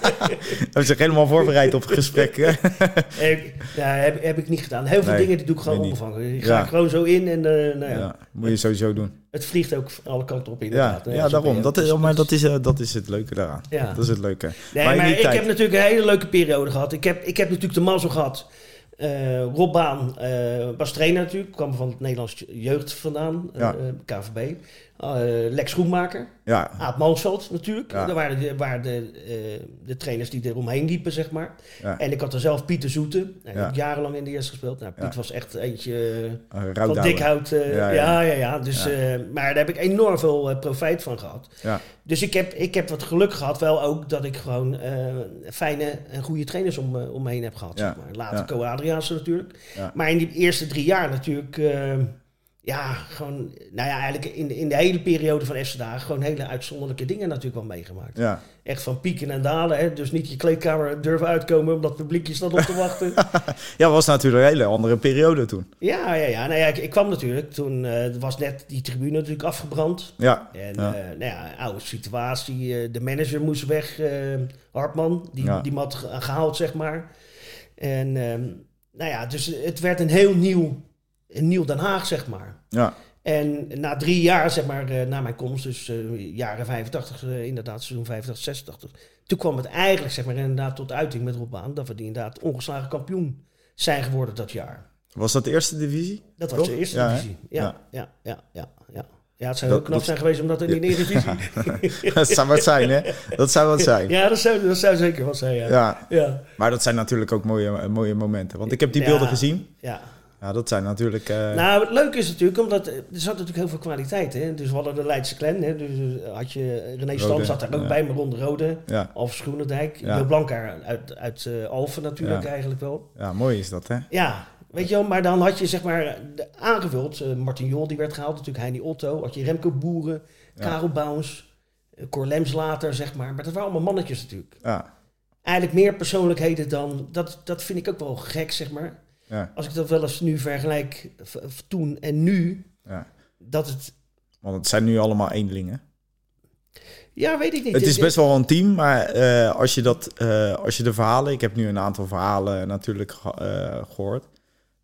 Speaker 2: Hebben zich helemaal voorbereid op gesprekken.
Speaker 1: heb, ik- nou, heb, heb ik niet gedaan. Heel veel
Speaker 2: Nee,
Speaker 1: dingen die doe ik gewoon
Speaker 2: nee, niet.
Speaker 1: onbevangen. Ik ga
Speaker 2: Ja.
Speaker 1: er gewoon zo in en eh, nou ja,
Speaker 2: Ja, moet je sowieso doen.
Speaker 1: het vliegt ook alle kanten op
Speaker 2: Ja,
Speaker 1: inderdaad.
Speaker 2: ja,
Speaker 1: Nou zo ben
Speaker 2: daarom.
Speaker 1: je
Speaker 2: Dat
Speaker 1: ook.
Speaker 2: is,
Speaker 1: Dus
Speaker 2: maar dat is, eh, dat is het leuke daaraan.
Speaker 1: Ja.
Speaker 2: Dat is het leuke.
Speaker 1: Nee,
Speaker 2: Maar
Speaker 1: maar,
Speaker 2: in die
Speaker 1: ik
Speaker 2: tijd-
Speaker 1: heb natuurlijk een hele leuke periode gehad. Ik heb, ik heb natuurlijk de mazzel gehad. Eh Rob Baan eh, was trainer natuurlijk. Kwam van het Nederlands jeugd vandaan. eh,
Speaker 2: Ja.
Speaker 1: KVB. Eh, Lex Groenmaker.
Speaker 2: Ja, eh,
Speaker 1: Aad Mansveld natuurlijk.
Speaker 2: Ja.
Speaker 1: Dat waren, de, waren de, eh, de trainers die eromheen liepen, zeg maar.
Speaker 2: ja.
Speaker 1: En ik had er zelf Pieter Zoete. Nou, die
Speaker 2: Ja.
Speaker 1: heb ik jarenlang in de eerste gespeeld. Nou, Piet
Speaker 2: Ja.
Speaker 1: was echt eentje eh,
Speaker 2: Uh,
Speaker 1: van dikhout. eh, ja,
Speaker 2: Ja, ja.
Speaker 1: ja, ja. Dus,
Speaker 2: Ja.
Speaker 1: eh, maar daar heb ik enorm veel eh, profijt van gehad.
Speaker 2: Ja,
Speaker 1: Dus ik heb, ik heb wat geluk gehad, wel ook dat ik gewoon eh, fijne en goede trainers om, eh, om me heen heb gehad.
Speaker 2: Ja,
Speaker 1: Zeg maar. Later
Speaker 2: ja.
Speaker 1: Co Adriaanse natuurlijk.
Speaker 2: Ja.
Speaker 1: Maar in die eerste drie jaar natuurlijk, eh, ja, gewoon, nou ja, eigenlijk in, in de hele periode van FC Den Haag gewoon hele uitzonderlijke dingen natuurlijk wel meegemaakt.
Speaker 2: ja,
Speaker 1: Echt van pieken en dalen, hè? dus niet je kleedkamer durven uitkomen omdat het publiek je staat op te wachten.
Speaker 2: ja, was natuurlijk een hele andere periode toen.
Speaker 1: ja, ja, ja. Nou ja, ik, ik kwam natuurlijk, toen eh, was net die tribune natuurlijk afgebrand.
Speaker 2: Ja,
Speaker 1: En
Speaker 2: Ja.
Speaker 1: eh, nou ja, oude situatie. eh, de manager moest weg, eh, Hartman. Die,
Speaker 2: Ja.
Speaker 1: die had ge- gehaald, zeg maar. En ehm, nou ja, dus het werd een heel nieuw, een nieuw Den Haag, zeg maar.
Speaker 2: ja,
Speaker 1: En na drie jaar, zeg maar, eh, na mijn komst, dus eh, jaren 85, eh, inderdaad, seizoen 85, 86. Toen kwam het eigenlijk, zeg maar, inderdaad tot uiting met Rob Baan. Dat we die inderdaad ongeslagen kampioen zijn geworden dat jaar.
Speaker 2: was dat de eerste divisie?
Speaker 1: Dat was
Speaker 2: Toch?
Speaker 1: de eerste
Speaker 2: Ja, hè?
Speaker 1: divisie. Ja,
Speaker 2: Ja.
Speaker 1: ja, ja, ja, ja, ja. het zou
Speaker 2: Dat-
Speaker 1: heel knap
Speaker 2: dat-
Speaker 1: zijn geweest om dat in de Eredivisie
Speaker 2: dat zou wat zijn, hè? Dat zou wat zijn.
Speaker 1: Ja, dat zou, dat zou zeker wel zijn, ja. Ja,
Speaker 2: Ja,
Speaker 1: ja.
Speaker 2: maar dat zijn natuurlijk ook mooie, eh, mooie momenten. Want ik heb die
Speaker 1: Ja.
Speaker 2: beelden gezien. Ja, dat zijn natuurlijk... eh,
Speaker 1: Nou, het leuke is natuurlijk, omdat eh, er zat natuurlijk heel veel kwaliteit hè. Dus we hadden de Leidse clan, hè. Dus eh, had je René Stam
Speaker 2: Rode,
Speaker 1: zat daar ook
Speaker 2: ja.
Speaker 1: bij, Maron de Rode,
Speaker 2: ja.
Speaker 1: Alf Schoenendijk,
Speaker 2: Ja.
Speaker 1: Jo Blankaar uit, uit eh, Alphen natuurlijk
Speaker 2: Ja.
Speaker 1: eigenlijk wel.
Speaker 2: ja, mooi is dat, hè?
Speaker 1: Ja, weet je wel, maar dan had je zeg maar de- aangevuld, eh, Martin Jol die werd gehaald natuurlijk, Heini Otto, had je Remco Boeren,
Speaker 2: Ja.
Speaker 1: Karel Bouwens, eh, Cor Lems later zeg maar. Maar dat waren allemaal mannetjes natuurlijk.
Speaker 2: Ja,
Speaker 1: Eigenlijk meer persoonlijkheden dan, dat, dat vind ik ook wel gek zeg maar.
Speaker 2: ja,
Speaker 1: als ik dat wel eens nu vergelijk, v- v- toen en nu,
Speaker 2: ja.
Speaker 1: dat het.
Speaker 2: Want het zijn nu allemaal eendelingen.
Speaker 1: Ja, weet ik niet.
Speaker 2: Het is
Speaker 1: Ik-
Speaker 2: best wel een team, maar eh, als, je dat, eh, als je de verhalen... Ik heb nu een aantal verhalen natuurlijk ge- eh, gehoord.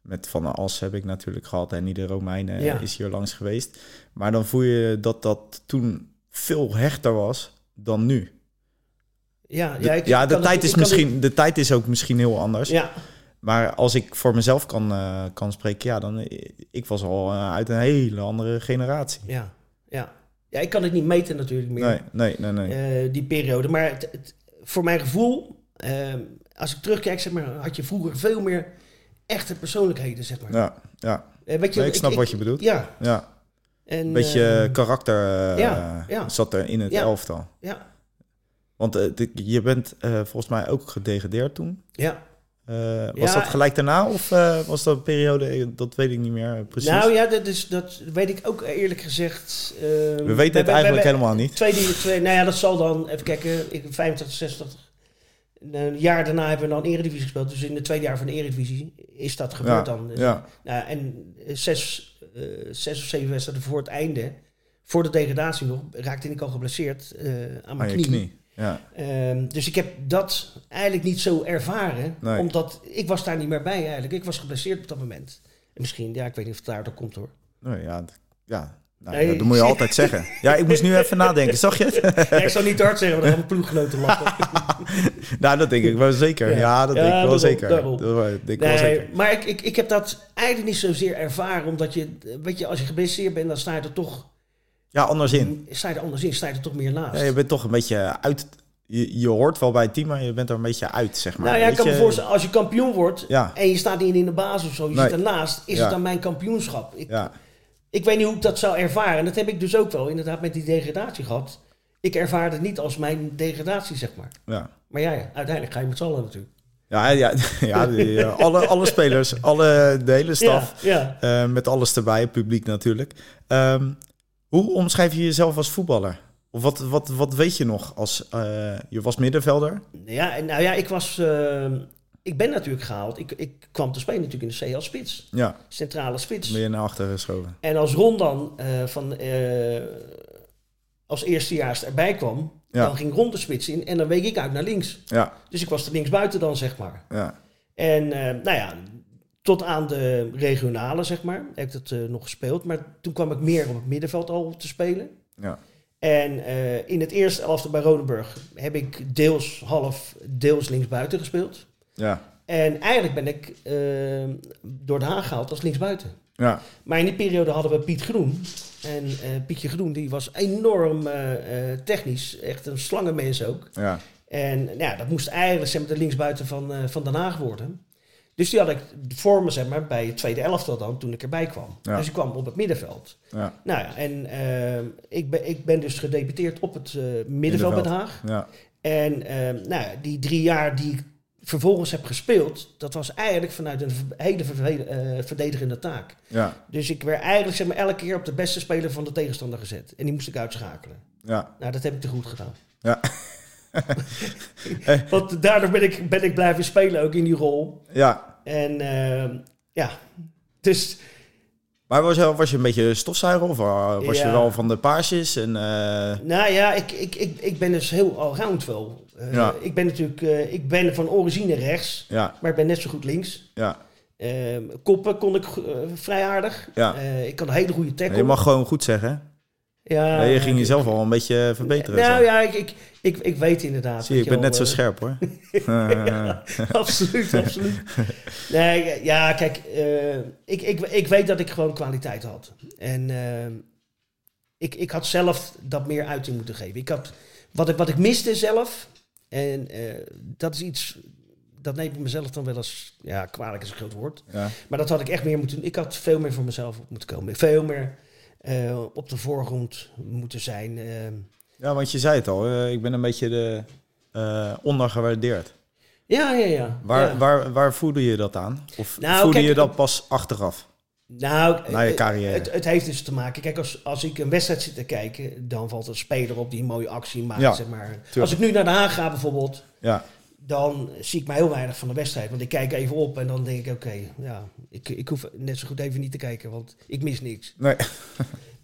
Speaker 2: Met Van der As heb ik natuurlijk gehad en ieder Romein eh,
Speaker 1: Ja.
Speaker 2: is hier langs geweest. Maar dan voel je dat dat toen veel hechter was dan nu.
Speaker 1: Ja,
Speaker 2: De- ja,
Speaker 1: ik- ik
Speaker 2: de,
Speaker 1: kan
Speaker 2: tijd
Speaker 1: het-
Speaker 2: is
Speaker 1: ik kan
Speaker 2: misschien, de tijd is ook misschien heel anders.
Speaker 1: het- Ja,
Speaker 2: Maar als ik voor mezelf kan, eh, kan spreken, ja, dan... eh, Ik was al eh, uit een hele andere generatie.
Speaker 1: ja, ja. Ja, ik kan het niet meten natuurlijk meer,
Speaker 2: Nee, nee, nee, nee.
Speaker 1: eh, die periode. Maar het, ehm, het- voor mijn gevoel, eh, als ik terugkijk, zeg maar, had je vroeger veel meer echte persoonlijkheden, zeg maar.
Speaker 2: Ja, ja.
Speaker 1: Eh, weet je,
Speaker 2: Nee, ik snap wat je bedoelt.
Speaker 1: Ja.
Speaker 2: Ja,
Speaker 1: En,
Speaker 2: een beetje
Speaker 1: eh,
Speaker 2: karakter eh,
Speaker 1: ja, ja.
Speaker 2: zat er in het
Speaker 1: Ja.
Speaker 2: elftal.
Speaker 1: ja,
Speaker 2: Want eh, dit- je bent eh, volgens mij ook gedegradeerd toen.
Speaker 1: ja.
Speaker 2: Eh, was
Speaker 1: Ja.
Speaker 2: dat gelijk daarna of eh, was dat een periode, dat weet ik niet meer eh, precies.
Speaker 1: Nou ja, dat, is, dat weet ik ook eerlijk gezegd. eh,
Speaker 2: We weten het eigenlijk helemaal niet.
Speaker 1: Tweede, twee, nou ja, dat zal dan, even kijken, ik, 85, 60. Een jaar daarna hebben we dan Eredivisie gespeeld. Dus in het tweede jaar van de Eredivisie is dat gebeurd dan.
Speaker 2: Ja,
Speaker 1: Nou, en zes, eh, zes of zeven wedstrijden voor het einde, voor de degradatie nog, raakte ik al geblesseerd eh, aan
Speaker 2: aan
Speaker 1: mijn
Speaker 2: je
Speaker 1: knie.
Speaker 2: knie. Ja.
Speaker 1: Ehm, dus ik heb dat eigenlijk niet zo ervaren,
Speaker 2: Nee.
Speaker 1: omdat ik was daar niet meer bij eigenlijk. Ik was geblesseerd op dat moment. En misschien, ja, ik weet niet of het daardoor komt hoor.
Speaker 2: Nou ja, d- ja. Nou,
Speaker 1: Nee,
Speaker 2: ja, dat moet je
Speaker 1: ik-
Speaker 2: altijd zeggen. Ja, ik moest nu even nadenken, zag je het?
Speaker 1: Ja, ik zou niet te hard zeggen, want dan gaan mijn ploeggenoten lachen.
Speaker 2: nou, dat denk ik wel zeker.
Speaker 1: Ja.
Speaker 2: Ja, dat
Speaker 1: Ja,
Speaker 2: denk ik wel
Speaker 1: daarom,
Speaker 2: zeker.
Speaker 1: daarom.
Speaker 2: Dat wel- denk ik wel
Speaker 1: Nee,
Speaker 2: zeker.
Speaker 1: maar ik, ik, ik heb dat eigenlijk niet zozeer ervaren, omdat je, weet je, als je geblesseerd bent, dan sta je er toch,
Speaker 2: Ja, anders in.
Speaker 1: sta je er anders in, sta je er toch meer naast.
Speaker 2: Ja, je bent toch een beetje uit. Je, je hoort wel bij het team, maar je bent er een beetje uit, zeg maar.
Speaker 1: nou ja, ik
Speaker 2: Weet
Speaker 1: kan me
Speaker 2: je?
Speaker 1: voorstellen, als je kampioen wordt
Speaker 2: Ja.
Speaker 1: Ah. en je staat niet in de basis of zo, je
Speaker 2: Nee.
Speaker 1: zit ernaast, is
Speaker 2: Ja.
Speaker 1: het dan mijn kampioenschap? Ik,
Speaker 2: Ja,
Speaker 1: ik weet niet hoe ik dat zou ervaren. En dat heb ik dus ook wel inderdaad met die degradatie gehad. Ik ervaar het niet als mijn degradatie, zeg maar.
Speaker 2: ja.
Speaker 1: Maar ja, ja, uiteindelijk ga je met z'n allen natuurlijk.
Speaker 2: Ja, ja, ja, die, eh, alle, alle spelers, alle, de hele staf,
Speaker 1: Ja, ja.
Speaker 2: eh, met alles erbij, het publiek natuurlijk. Ehm, hoe omschrijf je jezelf als voetballer? Of wat, wat, wat weet je nog? Als, eh, je was middenvelder?
Speaker 1: ja, en nou ja, ik was... ehm, ik ben natuurlijk gehaald. Ik, ik kwam te spelen natuurlijk in de C als spits.
Speaker 2: Ja,
Speaker 1: Centrale spits.
Speaker 2: ben je naar achteren geschoven.
Speaker 1: En als Ron dan eh, van, eh, als eerstejaars erbij kwam,
Speaker 2: Ja.
Speaker 1: dan ging Ron de spits in en dan week ik uit naar links.
Speaker 2: Ja,
Speaker 1: Dus ik was er links buiten dan, zeg maar.
Speaker 2: ja,
Speaker 1: En eh, nou ja, tot aan de regionale, zeg maar, heb ik dat eh, nog gespeeld. Maar toen kwam ik meer op het middenveld al te spelen.
Speaker 2: ja.
Speaker 1: En eh, in het eerste elfte bij Rodenburg heb ik deels half, deels linksbuiten gespeeld.
Speaker 2: ja.
Speaker 1: En eigenlijk ben ik eh, door de Haag gehaald als linksbuiten.
Speaker 2: Ja,
Speaker 1: Maar in die periode hadden we Piet Groen. En eh, Pietje Groen die was enorm eh, eh, technisch. Echt een slangenmens ook.
Speaker 2: ja,
Speaker 1: En nou ja, dat moest eigenlijk zeg maar, de linksbuiten van, eh, van Den Haag worden. Dus die had ik voor me zeg maar, bij het tweede elftal dan, toen ik erbij kwam.
Speaker 2: Ja.
Speaker 1: Dus ik kwam op het middenveld.
Speaker 2: ja,
Speaker 1: Nou ja, en ehm, ik, ben, ik ben dus gedeputeerd op het eh, middenveld
Speaker 2: Middenveld.
Speaker 1: bij Den Haag.
Speaker 2: ja.
Speaker 1: En ehm, nou ja, die drie jaar die ik vervolgens heb gespeeld... dat was eigenlijk vanuit een ver- hele vervel- eh, verdedigende taak.
Speaker 2: ja,
Speaker 1: Dus ik werd eigenlijk zeg maar, elke keer op de beste speler van de tegenstander gezet. En die moest ik uitschakelen.
Speaker 2: ja.
Speaker 1: Nou, dat heb ik te goed gedaan.
Speaker 2: Ja.
Speaker 1: Want daardoor ben ik, ben ik blijven spelen ook in die rol.
Speaker 2: ja.
Speaker 1: En ehm, ja, dus
Speaker 2: Maar was je, was je een beetje stofzuiger of eh, was
Speaker 1: Ja.
Speaker 2: je wel van de paarsjes? En, eh,
Speaker 1: nou ja, ik, ik, ik, ik ben dus heel allround wel. Eh,
Speaker 2: Ja.
Speaker 1: Ik ben natuurlijk eh, ik ben van origine rechts,
Speaker 2: ja,
Speaker 1: maar ik ben net zo goed links.
Speaker 2: ja.
Speaker 1: Ehm, koppen kon ik eh, vrij aardig.
Speaker 2: Ja.
Speaker 1: Eh, ik kan een hele goede tackle.
Speaker 2: Je mag gewoon goed zeggen. hè?
Speaker 1: ja,
Speaker 2: Nee, je ging jezelf al een beetje verbeteren.
Speaker 1: Nou
Speaker 2: zo.
Speaker 1: ja, ik, ik, ik, ik weet inderdaad.
Speaker 2: Zie je,
Speaker 1: weet
Speaker 2: ik
Speaker 1: wel,
Speaker 2: ben net zo
Speaker 1: eh,
Speaker 2: scherp hoor. Eh,
Speaker 1: absoluut, absoluut. Nee, ja, kijk, eh, ik, ik, ik weet dat ik gewoon kwaliteit had. En eh, ik, ik had zelf dat meer uiting moeten geven. Ik had, wat, ik, wat ik miste zelf, en eh, dat is iets, dat neem ik mezelf dan wel eens, ja, kwalijk is een groot woord.
Speaker 2: ja,
Speaker 1: Maar dat had ik echt meer moeten doen. Ik had veel meer voor mezelf op moeten komen. Veel meer eh, op de voorgrond moeten zijn. eh.
Speaker 2: Ja, want je zei het al, eh, ik ben een beetje de, eh, ondergewaardeerd.
Speaker 1: ja, ja, ja.
Speaker 2: Waar,
Speaker 1: ja.
Speaker 2: waar, waar voelde je dat aan? Of
Speaker 1: Nou,
Speaker 2: voelde
Speaker 1: kijk,
Speaker 2: je dat pas achteraf,
Speaker 1: Nou,
Speaker 2: na je
Speaker 1: eh,
Speaker 2: carrière?
Speaker 1: Het, het heeft dus te maken. Kijk, als, als ik een wedstrijd zit te kijken, dan valt een speler op die een mooie actie maakt.
Speaker 2: Ja,
Speaker 1: zeg maar. Als ik nu naar Den Haag ga bijvoorbeeld,
Speaker 2: ja,
Speaker 1: dan zie ik maar heel weinig van de wedstrijd. Want ik kijk even op en dan denk ik, oké, ja, ik, ik hoef net zo goed even niet te kijken, want ik mis niks.
Speaker 2: nee,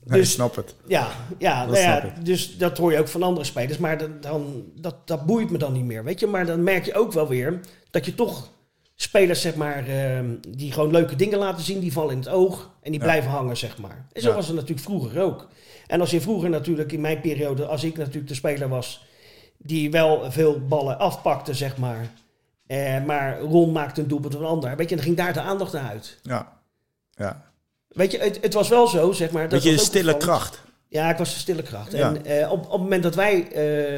Speaker 2: nee
Speaker 1: Dus-
Speaker 2: snap het.
Speaker 1: Ja, ja,
Speaker 2: Dat
Speaker 1: nou ja
Speaker 2: snap
Speaker 1: dus dat hoor je ook van andere spelers. Maar dan, dan, dat, dat boeit me dan niet meer, weet je. Maar dan merk je ook wel weer dat je toch spelers, zeg maar, ehm, die gewoon leuke dingen laten zien, die vallen in het oog en die
Speaker 2: Ja.
Speaker 1: blijven hangen, zeg maar. En zo
Speaker 2: Ja.
Speaker 1: was het natuurlijk vroeger ook. En als je vroeger natuurlijk, in mijn periode, als ik natuurlijk de speler was die wel veel ballen afpakte, zeg maar. Eh, maar Ron maakte een doelpunt van een ander. Weet je, dan ging daar de aandacht naar uit.
Speaker 2: Ja, ja.
Speaker 1: Weet je, het, het was wel zo, zeg maar. dat
Speaker 2: Beetje de
Speaker 1: was ook
Speaker 2: stille
Speaker 1: opvallend.
Speaker 2: kracht.
Speaker 1: Ja, ik was de stille kracht.
Speaker 2: Ja.
Speaker 1: En ehm, eh, op, op het moment dat wij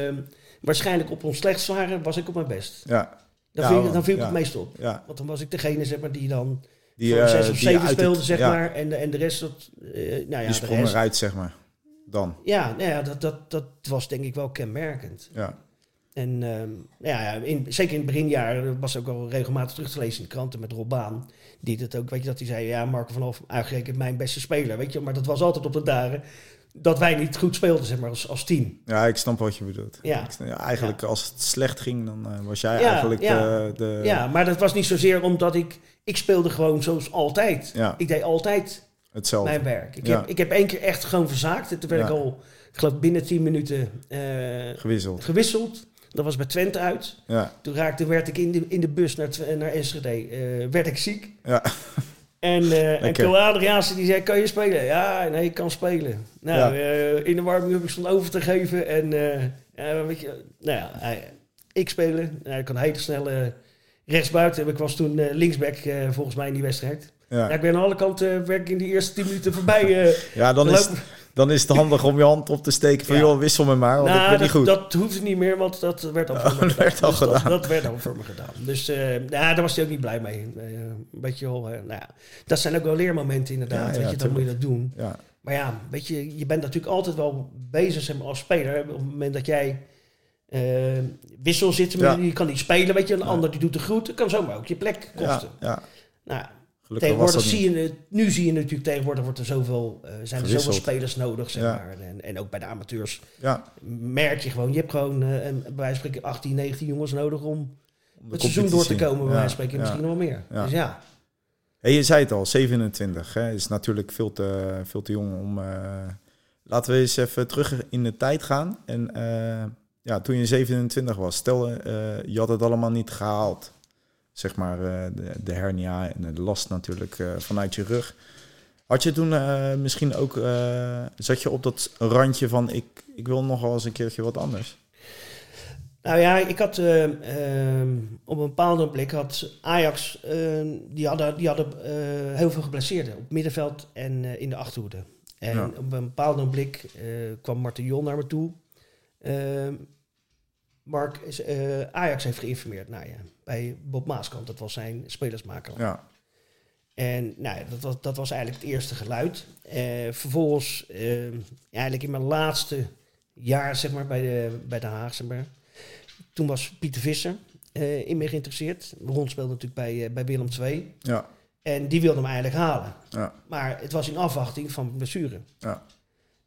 Speaker 1: eh, waarschijnlijk op ons slechts waren, was ik op mijn best.
Speaker 2: Ja,
Speaker 1: Dan
Speaker 2: Ja,
Speaker 1: viel,
Speaker 2: man,
Speaker 1: dan viel ik
Speaker 2: ja.
Speaker 1: het meest op.
Speaker 2: ja.
Speaker 1: Want dan was ik degene zeg maar, die dan
Speaker 2: Die,
Speaker 1: voor
Speaker 2: eh,
Speaker 1: zes of
Speaker 2: die
Speaker 1: zeven
Speaker 2: uit het-
Speaker 1: speelde, zeg
Speaker 2: ja,
Speaker 1: maar. En, de- en de rest, dat, eh, nou ja,
Speaker 2: die
Speaker 1: de
Speaker 2: sprong
Speaker 1: rest.
Speaker 2: Dus eruit, zeg maar. Dan,
Speaker 1: Ja, nou ja dat, dat, dat was denk ik wel kenmerkend.
Speaker 2: ja.
Speaker 1: En ehm, ja, ja, in, zeker in het beginjaren was ook al regelmatig terug te lezen in de kranten met Rob Baan. Die dat ook, weet je, dat hij zei, ja, Marco van Hof, uitgerekend mijn beste speler, weet je. Maar dat was altijd op de dagen dat wij niet goed speelden, zeg maar, als, als team.
Speaker 2: Ja, ik snap wat je bedoelt.
Speaker 1: Ja.
Speaker 2: Ik snap- ja, eigenlijk als het slecht ging, dan eh, was jij
Speaker 1: Ja,
Speaker 2: eigenlijk eh,
Speaker 1: ja.
Speaker 2: de... de
Speaker 1: ja, maar dat was niet zozeer omdat ik, ik speelde gewoon zoals altijd.
Speaker 2: Ja.
Speaker 1: Ik deed altijd
Speaker 2: Hetzelfde.
Speaker 1: mijn werk. Ik,
Speaker 2: Ja.
Speaker 1: heb, ik heb één keer echt gewoon verzaakt. En toen werd
Speaker 2: Ja.
Speaker 1: ik al, ik geloof binnen 10 minuten eh,
Speaker 2: Gewisseld.
Speaker 1: gewisseld. Dat was bij Twente uit.
Speaker 2: Ja,
Speaker 1: Toen raakte, werd ik in de, in de bus naar, Tw- naar Enschede, eh, werd ik ziek.
Speaker 2: ja.
Speaker 1: En, eh en
Speaker 2: Lekker.
Speaker 1: Phil Adriaanse die zei, kan je spelen? Ja, nee, ik kan spelen. Nou,
Speaker 2: Ja.
Speaker 1: eh, in de warming heb ik stond over te geven. En eh, ja, weet je, nou ja, hij- ik spelen. Nou, ik kan heel snel eh, rechtsbuiten. Ik was toen eh, linksback eh, volgens mij in die wedstrijd. Ja,
Speaker 2: Ja.
Speaker 1: ik ben aan alle kanten, werd ik in die eerste tien minuten voorbij. eh
Speaker 2: ja, dan is,
Speaker 1: lopen.
Speaker 2: dan is het handig om je hand op te steken van...
Speaker 1: Ja.
Speaker 2: joh, wissel me maar, want ik
Speaker 1: nou,
Speaker 2: ben Oh, niet
Speaker 1: dat,
Speaker 2: goed. Oh,
Speaker 1: dat hoefde niet meer, want dat werd al voor me
Speaker 2: dat werd al
Speaker 1: Dus dat-
Speaker 2: gedaan.
Speaker 1: Dat, werd al voor me gedaan. Dus eh, nou, daar was hij ook niet blij mee. Eh, een beetje al, eh, nou ja, dat zijn ook wel leermomenten inderdaad.
Speaker 2: Ja,
Speaker 1: weet
Speaker 2: ja,
Speaker 1: je, dan moet je dat doen.
Speaker 2: Ja,
Speaker 1: Maar ja, weet je, je bent natuurlijk altijd wel bezig zeg maar, als speler. Op het moment dat jij eh, wissel zit, maar
Speaker 2: Ja.
Speaker 1: je kan niet spelen, weet je. Een
Speaker 2: Ja.
Speaker 1: ander die doet de groet, dat kan zomaar ook je plek kosten.
Speaker 2: ja, ja.
Speaker 1: Nou,
Speaker 2: Gelukkig was
Speaker 1: tegenwoordig
Speaker 2: dat niet.
Speaker 1: zie je het, nu zie je natuurlijk tegenwoordig wordt er zoveel, eh, zijn er zoveel
Speaker 2: Gewisseld.
Speaker 1: spelers nodig, zeg
Speaker 2: Ja.
Speaker 1: maar. En, en ook bij de amateurs
Speaker 2: Ja,
Speaker 1: merk je gewoon, je hebt gewoon eh, een, bij wijze van spreken 18, 19 jongens nodig om
Speaker 2: om de
Speaker 1: het seizoen door te
Speaker 2: competitie.
Speaker 1: komen, bij
Speaker 2: Ja,
Speaker 1: wijze van spreken.
Speaker 2: ja.
Speaker 1: Misschien wel meer.
Speaker 2: Ja.
Speaker 1: Dus ja,
Speaker 2: Hey, je zei het al, 27 hè, is natuurlijk veel te, veel te jong om. eh, laten we eens even terug in de tijd gaan. En eh, ja, toen je 27 was, stel eh, je had het allemaal niet gehaald. Zeg maar eh, de, de hernia en de last natuurlijk eh, vanuit je rug. Had je toen eh, misschien ook, eh, zat je op dat randje van ik, ik wil nog wel eens een keertje wat anders?
Speaker 1: Nou ja, ik had eh, eh, op een bepaald ogenblik had Ajax, eh, die hadden, die hadden eh, heel veel geblesseerden op het middenveld en eh, in de achterhoede. En
Speaker 2: Ja.
Speaker 1: op een bepaald ogenblik eh, kwam Martin Jol naar me toe. Eh, Mark, is, eh, Ajax heeft geïnformeerd nou ja, bij Bob Maaskant, dat was zijn spelersmaker.
Speaker 2: Ja,
Speaker 1: En nou, ja, dat, was- dat was eigenlijk het eerste geluid. Eh, vervolgens, eh, ja, eigenlijk in mijn laatste jaar zeg maar, bij, de, bij de Haag, zeg maar, toen was Pieter Visser eh, in me geïnteresseerd. Ron speelde natuurlijk bij, eh, bij Willem II.
Speaker 2: ja,
Speaker 1: En die wilde hem eigenlijk halen.
Speaker 2: ja,
Speaker 1: Maar het was in afwachting van blessure.
Speaker 2: Ja.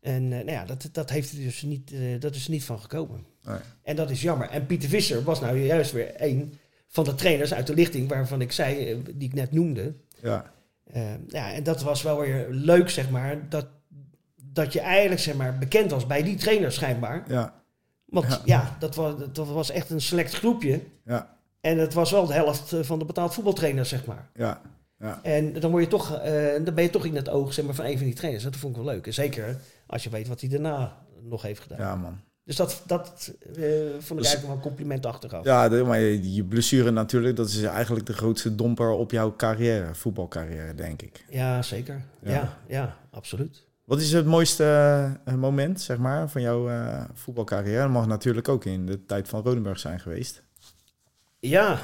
Speaker 1: En eh, nou ja, dat, dat, heeft er dus niet, eh, dat is er niet van gekomen.
Speaker 2: Nee.
Speaker 1: En dat is jammer. En Pieter Visser was nou juist weer een van de trainers uit de lichting waarvan ik zei, eh, die ik net noemde.
Speaker 2: ja,
Speaker 1: Eh, ja, en dat was wel weer leuk, zeg maar. Dat, dat je eigenlijk zeg maar, bekend was bij die trainer schijnbaar.
Speaker 2: ja,
Speaker 1: Want ja,
Speaker 2: Ja.
Speaker 1: dat, was, dat was echt een select groepje.
Speaker 2: ja,
Speaker 1: En het was wel de helft eh, van de betaald voetbaltrainers, zeg maar.
Speaker 2: ja.
Speaker 1: En dan, word je toch, eh, dan ben je toch in het oog zeg maar, van een van die trainers. Dat vond ik wel leuk. En zeker als je weet wat hij daarna nog heeft gedaan.
Speaker 2: ja man.
Speaker 1: Dus dat, dat eh, vond ik
Speaker 2: Dus-
Speaker 1: eigenlijk wel een compliment achteraf.
Speaker 2: Ja, de- maar je, je blessure natuurlijk, dat is eigenlijk de grootste domper op jouw carrière, voetbalcarrière, denk ik.
Speaker 1: Ja, zeker.
Speaker 2: Ja.
Speaker 1: ja, ja absoluut.
Speaker 2: Wat is het mooiste eh, moment, zeg maar, van jouw eh, voetbalcarrière? Dat mag natuurlijk ook in de tijd van Rodenburg zijn geweest.
Speaker 1: Ja,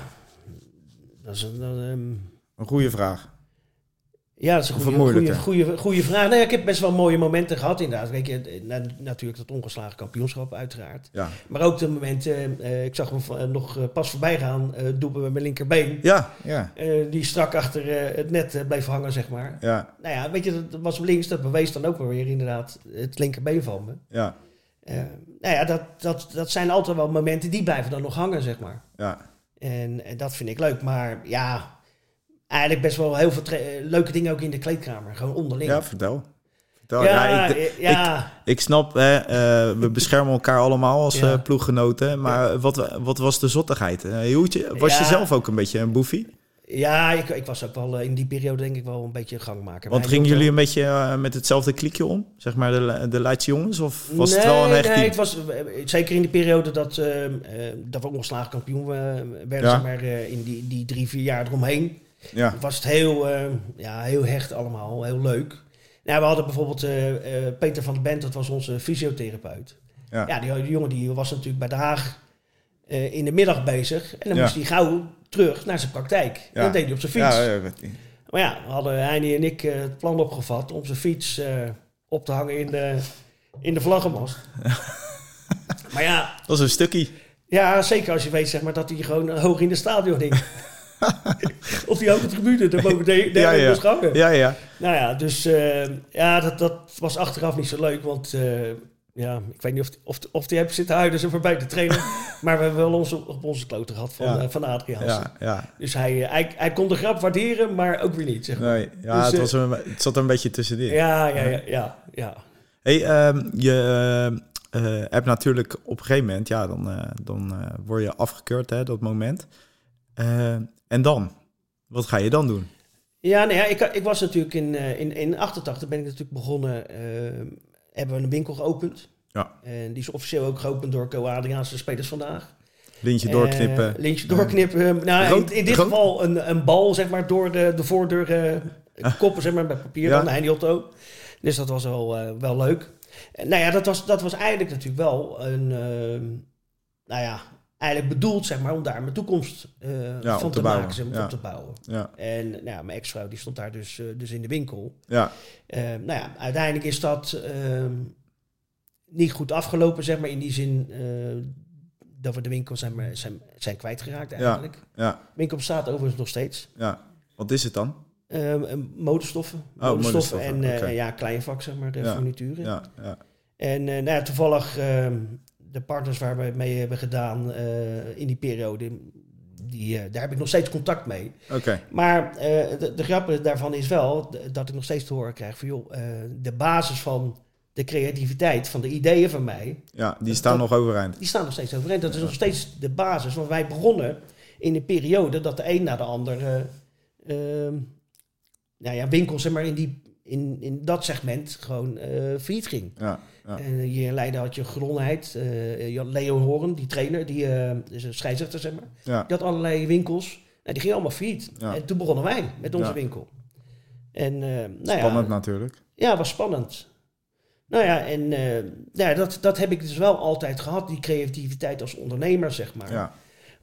Speaker 1: dat is een... dat, ehm,
Speaker 2: Een goede vraag.
Speaker 1: Ja, dat is een
Speaker 2: Of
Speaker 1: goede,
Speaker 2: een
Speaker 1: goede,
Speaker 2: moeilijke?
Speaker 1: goede, goede vraag. Nou ja, ik heb best wel mooie momenten gehad inderdaad. Weet je, eh, na- natuurlijk dat ongeslagen kampioenschap uiteraard.
Speaker 2: Ja,
Speaker 1: Maar ook de momenten, eh, ik zag hem van- eh, nog eh, pas voorbij gaan, eh doepen met mijn linkerbeen.
Speaker 2: ja, ja,
Speaker 1: Eh, die strak achter eh, het net eh, bleef hangen, zeg maar.
Speaker 2: ja,
Speaker 1: Nou ja, weet je, dat- dat was hem links, dat bewees dan ook wel weer inderdaad het linkerbeen van me.
Speaker 2: ja,
Speaker 1: Eh, nou ja, dat, dat, dat zijn altijd wel momenten die blijven dan nog hangen, zeg maar.
Speaker 2: ja,
Speaker 1: En, en dat vind ik leuk. Maar ja, eigenlijk best wel heel veel tra- eh, leuke dingen ook in de kleedkamer. Gewoon onderling.
Speaker 2: ja, vertel. vertel.
Speaker 1: Ja, ja,
Speaker 2: Oh, ik,
Speaker 1: ja.
Speaker 2: ik snap, hè, eh, we beschermen elkaar allemaal als
Speaker 1: Ja.
Speaker 2: eh, ploeggenoten, maar wat, wat was de zottigheid? Eh, Hieltje, was je
Speaker 1: Ja.
Speaker 2: zelf ook een beetje een boefie?
Speaker 1: ik, ik was ook wel eh, in die periode denk ik wel een beetje een gangmaker.
Speaker 2: Want
Speaker 1: Wij
Speaker 2: gingen
Speaker 1: hielden-
Speaker 2: jullie een beetje eh, met hetzelfde kliekje om? Zeg maar de, de Leidse jongens? Of was het
Speaker 1: Nee,
Speaker 2: wel een echt
Speaker 1: Nee, het
Speaker 2: team?
Speaker 1: was, eh, zeker in die periode dat, eh, eh, dat we ongeslagen kampioen eh, werden,
Speaker 2: Ja.
Speaker 1: zeg maar eh, in die, die drie, vier jaar eromheen.
Speaker 2: Ja,
Speaker 1: was het heel, eh, ja, heel hecht allemaal, heel leuk. Nou, we hadden bijvoorbeeld eh, eh, Peter van den Bent, dat was onze fysiotherapeut.
Speaker 2: Ja.
Speaker 1: Ja, die, die jongen die was natuurlijk bij Den Haag. eh, eh, in de middag bezig. En dan
Speaker 2: Ja.
Speaker 1: moest hij gauw terug naar zijn praktijk.
Speaker 2: Ja.
Speaker 1: Dat deed hij op zijn fiets.
Speaker 2: Ja, ja, ja.
Speaker 1: Maar ja, hadden Heini en ik eh, het plan opgevat om zijn fiets eh, op te hangen in de, in de vlaggenmast. maar ja,
Speaker 2: dat is een stukje.
Speaker 1: ja, zeker als je weet zeg maar, dat hij gewoon eh, hoog in de stadion hing. of die hoge tribune, daar boven de, de,
Speaker 2: Ja, ja.
Speaker 1: moest hangen.
Speaker 2: Ja, ja.
Speaker 1: Nou ja, dus eh, ja, dat, dat was achteraf niet zo leuk, want eh, ja, ik weet niet of, of, of die hebben zitten huilen, ze voorbij te trainen. maar we hebben wel ons op, op onze kloten gehad van,
Speaker 2: Ja.
Speaker 1: eh, van Adrie Hansen.
Speaker 2: ja, ja.
Speaker 1: Dus hij, eh, hij, hij kon de grap waarderen, maar ook weer niet, zeg maar.
Speaker 2: Nee, ja
Speaker 1: Dus,
Speaker 2: het,
Speaker 1: eh,
Speaker 2: was een, het zat er een beetje tussenin.
Speaker 1: Ja, ja, ja, ja, ja.
Speaker 2: Hey, ehm, je eh, eh, hebt natuurlijk op een gegeven moment, ja, dan, eh, dan eh, word je afgekeurd, hè, dat moment. Eh, en dan? Wat ga je dan doen?
Speaker 1: Ja, nee, ja, ik, ik was natuurlijk in, eh, in, in 88 ben ik natuurlijk begonnen, eh, hebben we een winkel geopend.
Speaker 2: Ja.
Speaker 1: En die is officieel ook geopend door Co Adriaanse spelers vandaag.
Speaker 2: Lintje doorknippen.
Speaker 1: Eh, lintje doorknippen. nou,
Speaker 2: Rood-
Speaker 1: in, in dit
Speaker 2: rood?
Speaker 1: geval een, een bal, zeg maar, door de, de voordeur eh, koppen, zeg maar, met papier
Speaker 2: Ja.
Speaker 1: dan, Heini Otto. Dus dat was wel, eh, wel leuk. En, nou ja, dat was, dat was eigenlijk natuurlijk wel een, eh, nou ja, eigenlijk bedoeld, zeg maar, om daar mijn toekomst eh,
Speaker 2: Ja,
Speaker 1: van
Speaker 2: op
Speaker 1: te, maken,
Speaker 2: te bouwen.
Speaker 1: zeg maar,
Speaker 2: Ja.
Speaker 1: op te bouwen.
Speaker 2: ja,
Speaker 1: En nou ja, mijn ex-vrouw die stond daar dus, eh, dus in de winkel.
Speaker 2: ja,
Speaker 1: Eh, nou ja, uiteindelijk is dat ehm, niet goed afgelopen, zeg maar. In die zin eh, dat we de winkel zijn, maar zijn, zijn kwijtgeraakt eigenlijk.
Speaker 2: ja,
Speaker 1: De winkel bestaat overigens nog steeds.
Speaker 2: ja. Wat is het dan?
Speaker 1: Ehm, en motorstoffen.
Speaker 2: motorstoffen,
Speaker 1: en eh,
Speaker 2: Oh, oké.
Speaker 1: ja, klein vak, zeg maar, eh,
Speaker 2: Ja,
Speaker 1: furnituren.
Speaker 2: Ja, ja,
Speaker 1: En eh, nou ja, toevallig ehm, de partners waar we mee hebben gedaan eh, in die periode... Die, eh, daar heb ik nog steeds contact mee.
Speaker 2: oké.
Speaker 1: Maar eh, de, de grap daarvan is wel d- dat ik nog steeds te horen krijg van joh, eh, de basis van de creativiteit, van de ideeën van mij,
Speaker 2: Ja, die staan nog overeind.
Speaker 1: die staan nog steeds overeind. Dat is nog steeds de basis. Want wij begonnen in een periode dat de een na de ander eh, ehm, nou ja, winkels zeg maar, in, die, in, in dat segment gewoon eh failliet ging.
Speaker 2: Ja, ja.
Speaker 1: En hier in Leiden had je Gronheid, eh, je had Leo Horen, die trainer, die eh, is een scheidsrechter zeg maar.
Speaker 2: Ja,
Speaker 1: Die had allerlei winkels. Nou, die gingen allemaal failliet.
Speaker 2: Ja.
Speaker 1: En toen begonnen wij met onze
Speaker 2: Ja.
Speaker 1: winkel. En, eh, nou
Speaker 2: spannend
Speaker 1: Ja,
Speaker 2: natuurlijk.
Speaker 1: ja, was spannend. Nou ja, en eh, nou ja, dat, dat heb ik dus wel altijd gehad, die creativiteit als ondernemer, zeg maar.
Speaker 2: Ja,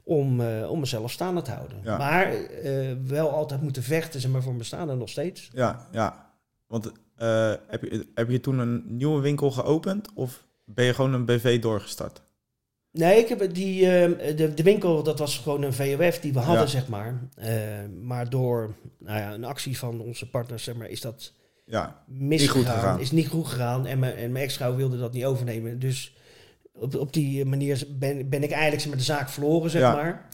Speaker 1: Om, eh, om mezelf staande te houden.
Speaker 2: Ja.
Speaker 1: Maar eh, wel altijd moeten vechten, zeg maar, voor mijn staan en nog steeds.
Speaker 2: ja, ja. Want eh, heb, je, heb je toen een nieuwe winkel geopend of ben je gewoon een BV doorgestart?
Speaker 1: Nee, ik heb die, eh, de, de winkel, dat was gewoon een VOF die we hadden,
Speaker 2: Ja.
Speaker 1: zeg maar. Eh, maar door nou ja, een actie van onze partners, zeg maar, is dat
Speaker 2: Ja,
Speaker 1: misgegaan,
Speaker 2: Niet goed gegaan.
Speaker 1: is niet goed gegaan. En mijn, en mijn ex-vrouw wilde dat niet overnemen. Dus op, op die manier ben, ben ik eigenlijk zeg maar, de zaak verloren, zeg
Speaker 2: Ja.
Speaker 1: maar.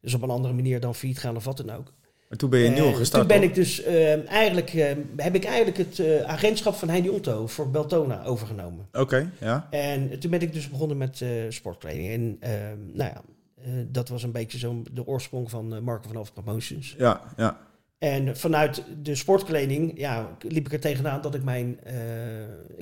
Speaker 1: Dus op een andere manier dan failliet gaan of wat dan ook.
Speaker 2: maar toen ben je
Speaker 1: Eh,
Speaker 2: nieuw gestart.
Speaker 1: Toen ben
Speaker 2: toch?
Speaker 1: ik dus eh, eigenlijk, eh, heb ik eigenlijk het eh, agentschap van Heidi Otto voor Beltona overgenomen.
Speaker 2: Oké, ja.
Speaker 1: En toen ben ik dus begonnen met eh, sportkleding. En eh, nou ja, eh, dat was een beetje zo'n de oorsprong van eh, Marco van Alphen Promotions.
Speaker 2: Ja, ja,
Speaker 1: En vanuit de sportkleding ja, liep ik er tegenaan dat ik mijn eh,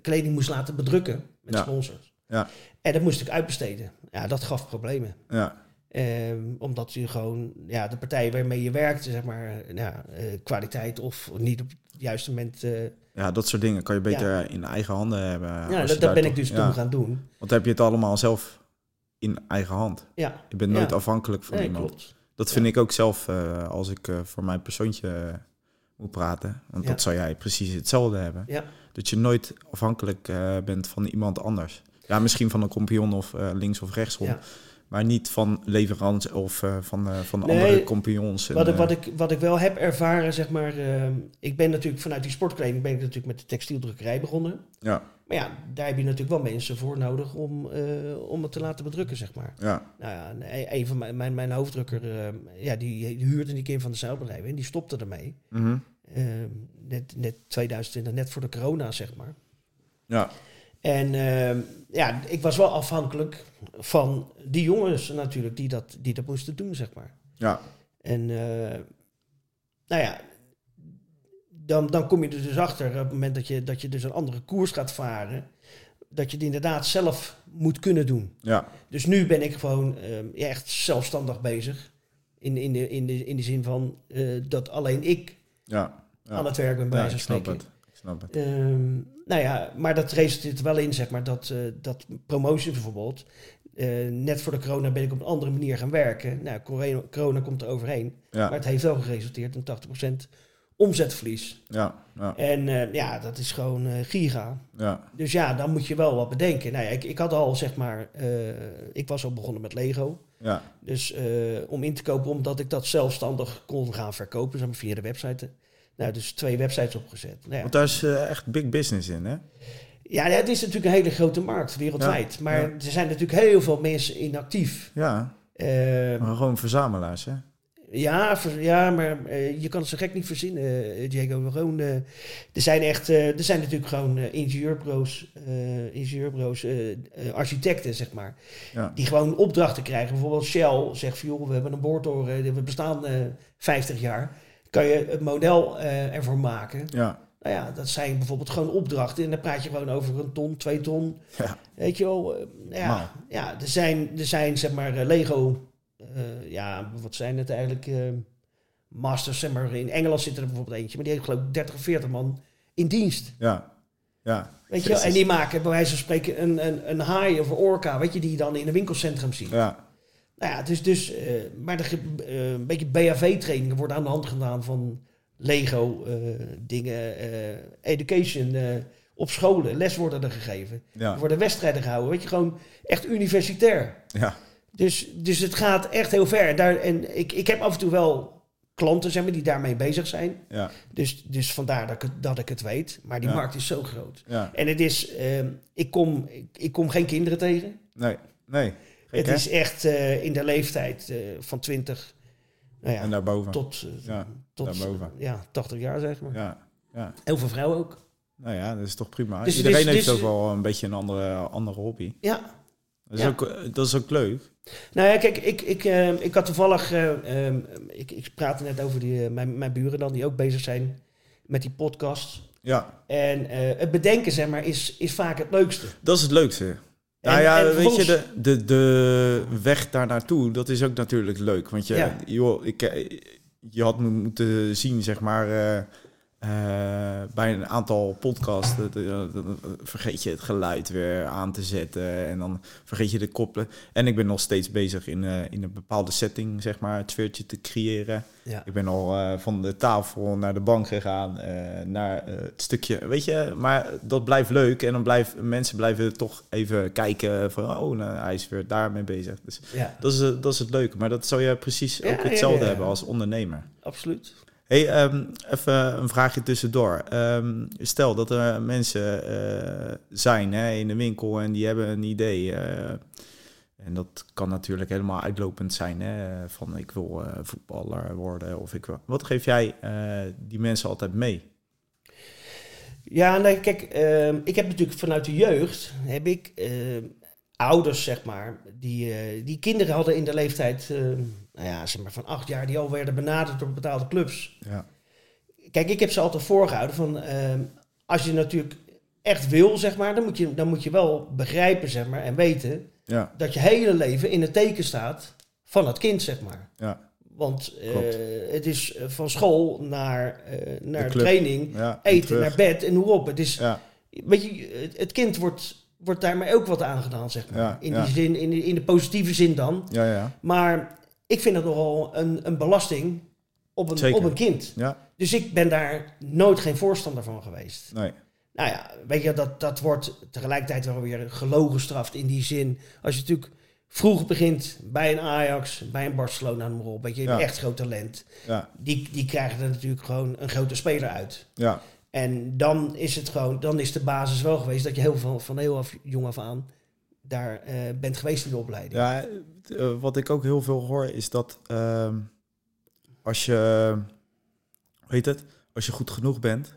Speaker 1: kleding moest laten bedrukken met
Speaker 2: Ja.
Speaker 1: sponsors.
Speaker 2: Ja.
Speaker 1: En dat moest ik uitbesteden. Ja, dat gaf problemen.
Speaker 2: ja,
Speaker 1: Ehm, omdat je gewoon ja, de partij waarmee je werkt, zeg maar, eh, ja, eh, kwaliteit of niet op het juiste moment. eh,
Speaker 2: ja, dat soort dingen kan je beter eh, in eigen handen hebben. als
Speaker 1: ja,
Speaker 2: je
Speaker 1: dat, dat
Speaker 2: daar
Speaker 1: ben
Speaker 2: toch-
Speaker 1: ik dus
Speaker 2: ja.
Speaker 1: toen gaan doen.
Speaker 2: Want dan heb je het allemaal zelf in eigen hand.
Speaker 1: Ja,
Speaker 2: Je bent nooit
Speaker 1: Ja.
Speaker 2: afhankelijk van
Speaker 1: nee,
Speaker 2: iemand.
Speaker 1: klopt.
Speaker 2: Dat vind ik ook zelf eh, als ik eh, voor mijn persoontje eh, moet praten. Want
Speaker 1: Ja.
Speaker 2: dat zou jij precies hetzelfde hebben.
Speaker 1: Ja.
Speaker 2: Dat je nooit afhankelijk eh, bent van iemand anders. Ja, misschien van een compagnon of eh, links of rechtsom.
Speaker 1: Ja.
Speaker 2: Maar niet van leverants of eh, van, eh, van
Speaker 1: Nee,
Speaker 2: andere compagnons. en,
Speaker 1: Wat ik,
Speaker 2: eh,
Speaker 1: wat, ik, wat ik wel heb ervaren, zeg maar, ehm, ik ben natuurlijk vanuit die sportkleding ben ik natuurlijk met de textieldrukkerij begonnen.
Speaker 2: ja,
Speaker 1: Maar ja, daar heb je natuurlijk wel mensen voor nodig om, eh, om het te laten bedrukken, zeg maar.
Speaker 2: ja,
Speaker 1: Nou ja, een- een van mijn, mijn, mijn hoofddrukker, eh, ja, die, die huurde die keer van de zeilbedrijven en die stopte ermee.
Speaker 2: mhm,
Speaker 1: Eh, net, net 2020, net voor de corona, zeg maar.
Speaker 2: ja,
Speaker 1: En eh, ja, ik was wel afhankelijk van die jongens natuurlijk die dat, die dat moesten doen, zeg maar.
Speaker 2: ja,
Speaker 1: En eh, nou ja, dan, dan kom je er dus achter op het moment dat je, dat je dus een andere koers gaat varen, dat je het inderdaad zelf moet kunnen doen.
Speaker 2: ja,
Speaker 1: Dus nu ben ik gewoon eh, ja, echt zelfstandig bezig. In, in, de, in, de, in de zin van eh, dat alleen ik
Speaker 2: ja. Ja.
Speaker 1: aan het werk ben bij
Speaker 2: Ja,
Speaker 1: wijze
Speaker 2: ik
Speaker 1: van
Speaker 2: snap
Speaker 1: spreken.
Speaker 2: het. Ik snap het.
Speaker 1: Ehm, nou ja, maar dat resulteert er wel in, zeg maar, dat, eh dat promotion bijvoorbeeld, eh, net voor de corona ben ik op een andere manier gaan werken. Nou, corona, corona komt er overheen. Maar
Speaker 2: Ja,
Speaker 1: het heeft wel geresulteerd in 80% omzetverlies.
Speaker 2: ja, ja,
Speaker 1: En eh, ja, dat is gewoon eh, giga.
Speaker 2: ja,
Speaker 1: Dus ja, dan moet je wel wat bedenken. Nou ja, ik, ik had al zeg maar, eh, ik was al begonnen met Lego.
Speaker 2: ja,
Speaker 1: Dus eh, om in te kopen, omdat ik dat zelfstandig kon gaan verkopen, zeg maar via de website. Nou, dus twee websites opgezet. Nou ja.
Speaker 2: Want daar is eh, echt big business in, hè?
Speaker 1: ja, het is natuurlijk een hele grote markt wereldwijd.
Speaker 2: Ja,
Speaker 1: maar
Speaker 2: ja.
Speaker 1: er zijn natuurlijk heel veel mensen inactief.
Speaker 2: Ja,
Speaker 1: Eh,
Speaker 2: maar gewoon verzamelaars, hè?
Speaker 1: Ja, ver- ja maar eh, je kan het zo gek niet verzinnen, eh, Diego. Gewoon, eh, er, zijn echt, eh, er zijn natuurlijk gewoon eh, ingenieurbureaus, eh, ingenieurbureaus eh, eh, architecten, zeg maar.
Speaker 2: Ja.
Speaker 1: Die gewoon opdrachten krijgen. Bijvoorbeeld Shell zegt van, joh, we hebben een boortoren, we bestaan eh 50 jaar. Kan je het model eh, ervoor maken?
Speaker 2: Ja,
Speaker 1: Nou ja, dat zijn bijvoorbeeld gewoon opdrachten. En dan praat je gewoon over een ton, twee ton.
Speaker 2: Ja.
Speaker 1: Weet je wel, eh,
Speaker 2: Nou.
Speaker 1: ja, ja er, zijn, er zijn zeg maar eh, Lego, eh, ja, wat zijn het eigenlijk? eh, masters, zeg maar. In Engeland zit er bijvoorbeeld eentje, maar die heeft geloof ik 30 of 40 man in dienst.
Speaker 2: ja, ja,
Speaker 1: Weet je wel?
Speaker 2: Jezus.
Speaker 1: En die maken bij wijze van spreken een, een, een haai of een orka, weet je, die je dan in een winkelcentrum ziet.
Speaker 2: ja,
Speaker 1: Nou ja, dus, dus eh, maar de, ge- eh, een beetje BHV-trainingen worden aan de hand gedaan van Lego, eh, dingen, eh, education eh, op scholen. Les worden er gegeven. Er
Speaker 2: ja,
Speaker 1: worden wedstrijden gehouden. Weet je, gewoon echt universitair.
Speaker 2: ja,
Speaker 1: Dus, dus het gaat echt heel ver. Daar, en ik, ik heb af en toe wel klanten zeg maar, die daarmee bezig zijn.
Speaker 2: ja,
Speaker 1: Dus, dus vandaar dat ik, het- dat ik het weet. Maar die
Speaker 2: Ja.
Speaker 1: markt is zo groot.
Speaker 2: ja.
Speaker 1: En het is, eh, ik, kom, ik, ik kom geen kinderen tegen.
Speaker 2: Nee, nee. Gek,
Speaker 1: Het
Speaker 2: hè?
Speaker 1: is echt eh, in de leeftijd eh, van 20 nou ja,
Speaker 2: En daarboven.
Speaker 1: tot, eh,
Speaker 2: Ja,
Speaker 1: tot
Speaker 2: daarboven.
Speaker 1: ja, 80 jaar, zeg maar.
Speaker 2: Ja, ja.
Speaker 1: Heel veel vrouwen ook.
Speaker 2: Nou ja, dat is toch prima.
Speaker 1: Dus het
Speaker 2: Iedereen
Speaker 1: is-
Speaker 2: heeft
Speaker 1: dus-
Speaker 2: ook wel een beetje een andere, andere hobby.
Speaker 1: Ja.
Speaker 2: Dat is,
Speaker 1: Ja.
Speaker 2: ook, eh, dat is ook leuk.
Speaker 1: Nou ja, kijk, ik, ik, eh, ik had toevallig... eh, ehm, ik, ik praatte net over die, eh, mijn, mijn buren dan, die ook bezig zijn met die podcast.
Speaker 2: Ja,
Speaker 1: En eh, het bedenken, zeg maar, is, is vaak het leukste.
Speaker 2: dat is het leukste. nou
Speaker 1: En-
Speaker 2: ja,
Speaker 1: en
Speaker 2: weet je,
Speaker 1: vervolgens-
Speaker 2: de, de, de weg daar naartoe, dat is ook natuurlijk leuk. Want je,
Speaker 1: Ja.
Speaker 2: joh, ik, eh, je had me moeten zien, zeg maar, eh, eh, bij een aantal podcasts. dat- eh, dat- dat- dat- vergeet je het geluid weer aan te zetten en dan vergeet je de koppelen. En ik ben nog steeds bezig in, eh, in een bepaalde setting, zeg maar, het sfeertje te creëren.
Speaker 1: Ja.
Speaker 2: Ik ben al eh, van de tafel naar de bank gegaan, eh, naar eh, het stukje, weet je. Maar dat blijft leuk en dan blijven mensen blijven toch even kijken van, oh, nou, hij is weer daarmee bezig. Dus
Speaker 1: Ja,
Speaker 2: dat is, eh, dat is het leuke, maar dat zou je precies
Speaker 1: Ja,
Speaker 2: ook
Speaker 1: ja,
Speaker 2: hetzelfde
Speaker 1: ja, ja.
Speaker 2: hebben als ondernemer.
Speaker 1: absoluut.
Speaker 2: Hey, ehm, even een vraagje tussendoor. Ehm, stel dat er mensen eh, zijn hè, in de winkel en die hebben een idee. eh, en dat kan natuurlijk helemaal uitlopend zijn. Hè, van ik wil eh, voetballer worden of ik wil... Wat geef jij eh, die mensen altijd mee?
Speaker 1: Ja, nee, kijk, ehm, ik heb natuurlijk vanuit de jeugd heb ik ehm, ouders, zeg maar, die, eh, die kinderen hadden in de leeftijd ehm, nou ja, zeg maar van acht jaar, die al werden benaderd door betaalde clubs.
Speaker 2: Ja,
Speaker 1: Kijk, ik heb ze altijd voorgehouden van ehm, als je natuurlijk echt wil, zeg maar, dan moet, je, dan moet je wel begrijpen, zeg maar, en weten
Speaker 2: ja,
Speaker 1: dat je hele leven in het teken staat van het kind, zeg maar.
Speaker 2: ja,
Speaker 1: Want eh,
Speaker 2: Klopt.
Speaker 1: het is eh, van school naar, eh, naar
Speaker 2: club.
Speaker 1: training,
Speaker 2: ja. en
Speaker 1: eten,
Speaker 2: terug.
Speaker 1: naar bed en hoe op. Het is
Speaker 2: Ja,
Speaker 1: Weet je, het- het kind wordt, wordt daarmee ook wat aangedaan, zeg maar.
Speaker 2: Ja,
Speaker 1: in,
Speaker 2: ja.
Speaker 1: die zin, in, de- in de positieve zin dan.
Speaker 2: ja, ja.
Speaker 1: Maar ik vind dat nogal een, een belasting op een,
Speaker 2: Zeker.
Speaker 1: op een kind.
Speaker 2: Ja,
Speaker 1: Dus ik ben daar nooit geen voorstander van geweest.
Speaker 2: nee.
Speaker 1: Nou ja, weet je, dat, dat wordt tegelijkertijd wel weer gelogen gestraft in die zin. Als je natuurlijk vroeg begint bij een Ajax, bij een Barcelona, noem maar op. Weet je,
Speaker 2: Ja.
Speaker 1: echt groot talent.
Speaker 2: Ja,
Speaker 1: Die, die krijgen er natuurlijk gewoon een grote speler uit.
Speaker 2: ja,
Speaker 1: En dan is het gewoon, dan is de basis wel geweest dat je heel veel van heel af, jong af aan daar eh, bent geweest in de opleiding.
Speaker 2: Ja, eh, wat ik ook heel veel hoor is dat ehm, als je, hoe heet het, als je goed genoeg bent,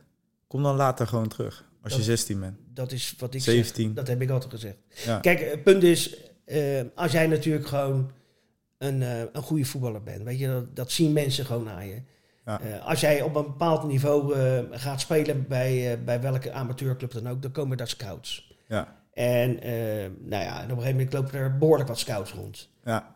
Speaker 2: kom dan later gewoon terug. Als
Speaker 1: Dat-
Speaker 2: je 16 bent.
Speaker 1: Dat is wat ik
Speaker 2: 17.
Speaker 1: zeg. Dat heb ik altijd gezegd.
Speaker 2: Ja.
Speaker 1: Kijk, het punt is, eh, als jij natuurlijk gewoon een, eh, een goede voetballer bent, weet je, dat, dat zien mensen gewoon aan je.
Speaker 2: Ja.
Speaker 1: Eh, als jij op een bepaald niveau eh, gaat spelen bij, eh, bij welke amateurclub dan ook, dan komen daar scouts.
Speaker 2: Ja,
Speaker 1: En eh, nou ja, en op een gegeven moment lopen er behoorlijk wat scouts rond.
Speaker 2: ja,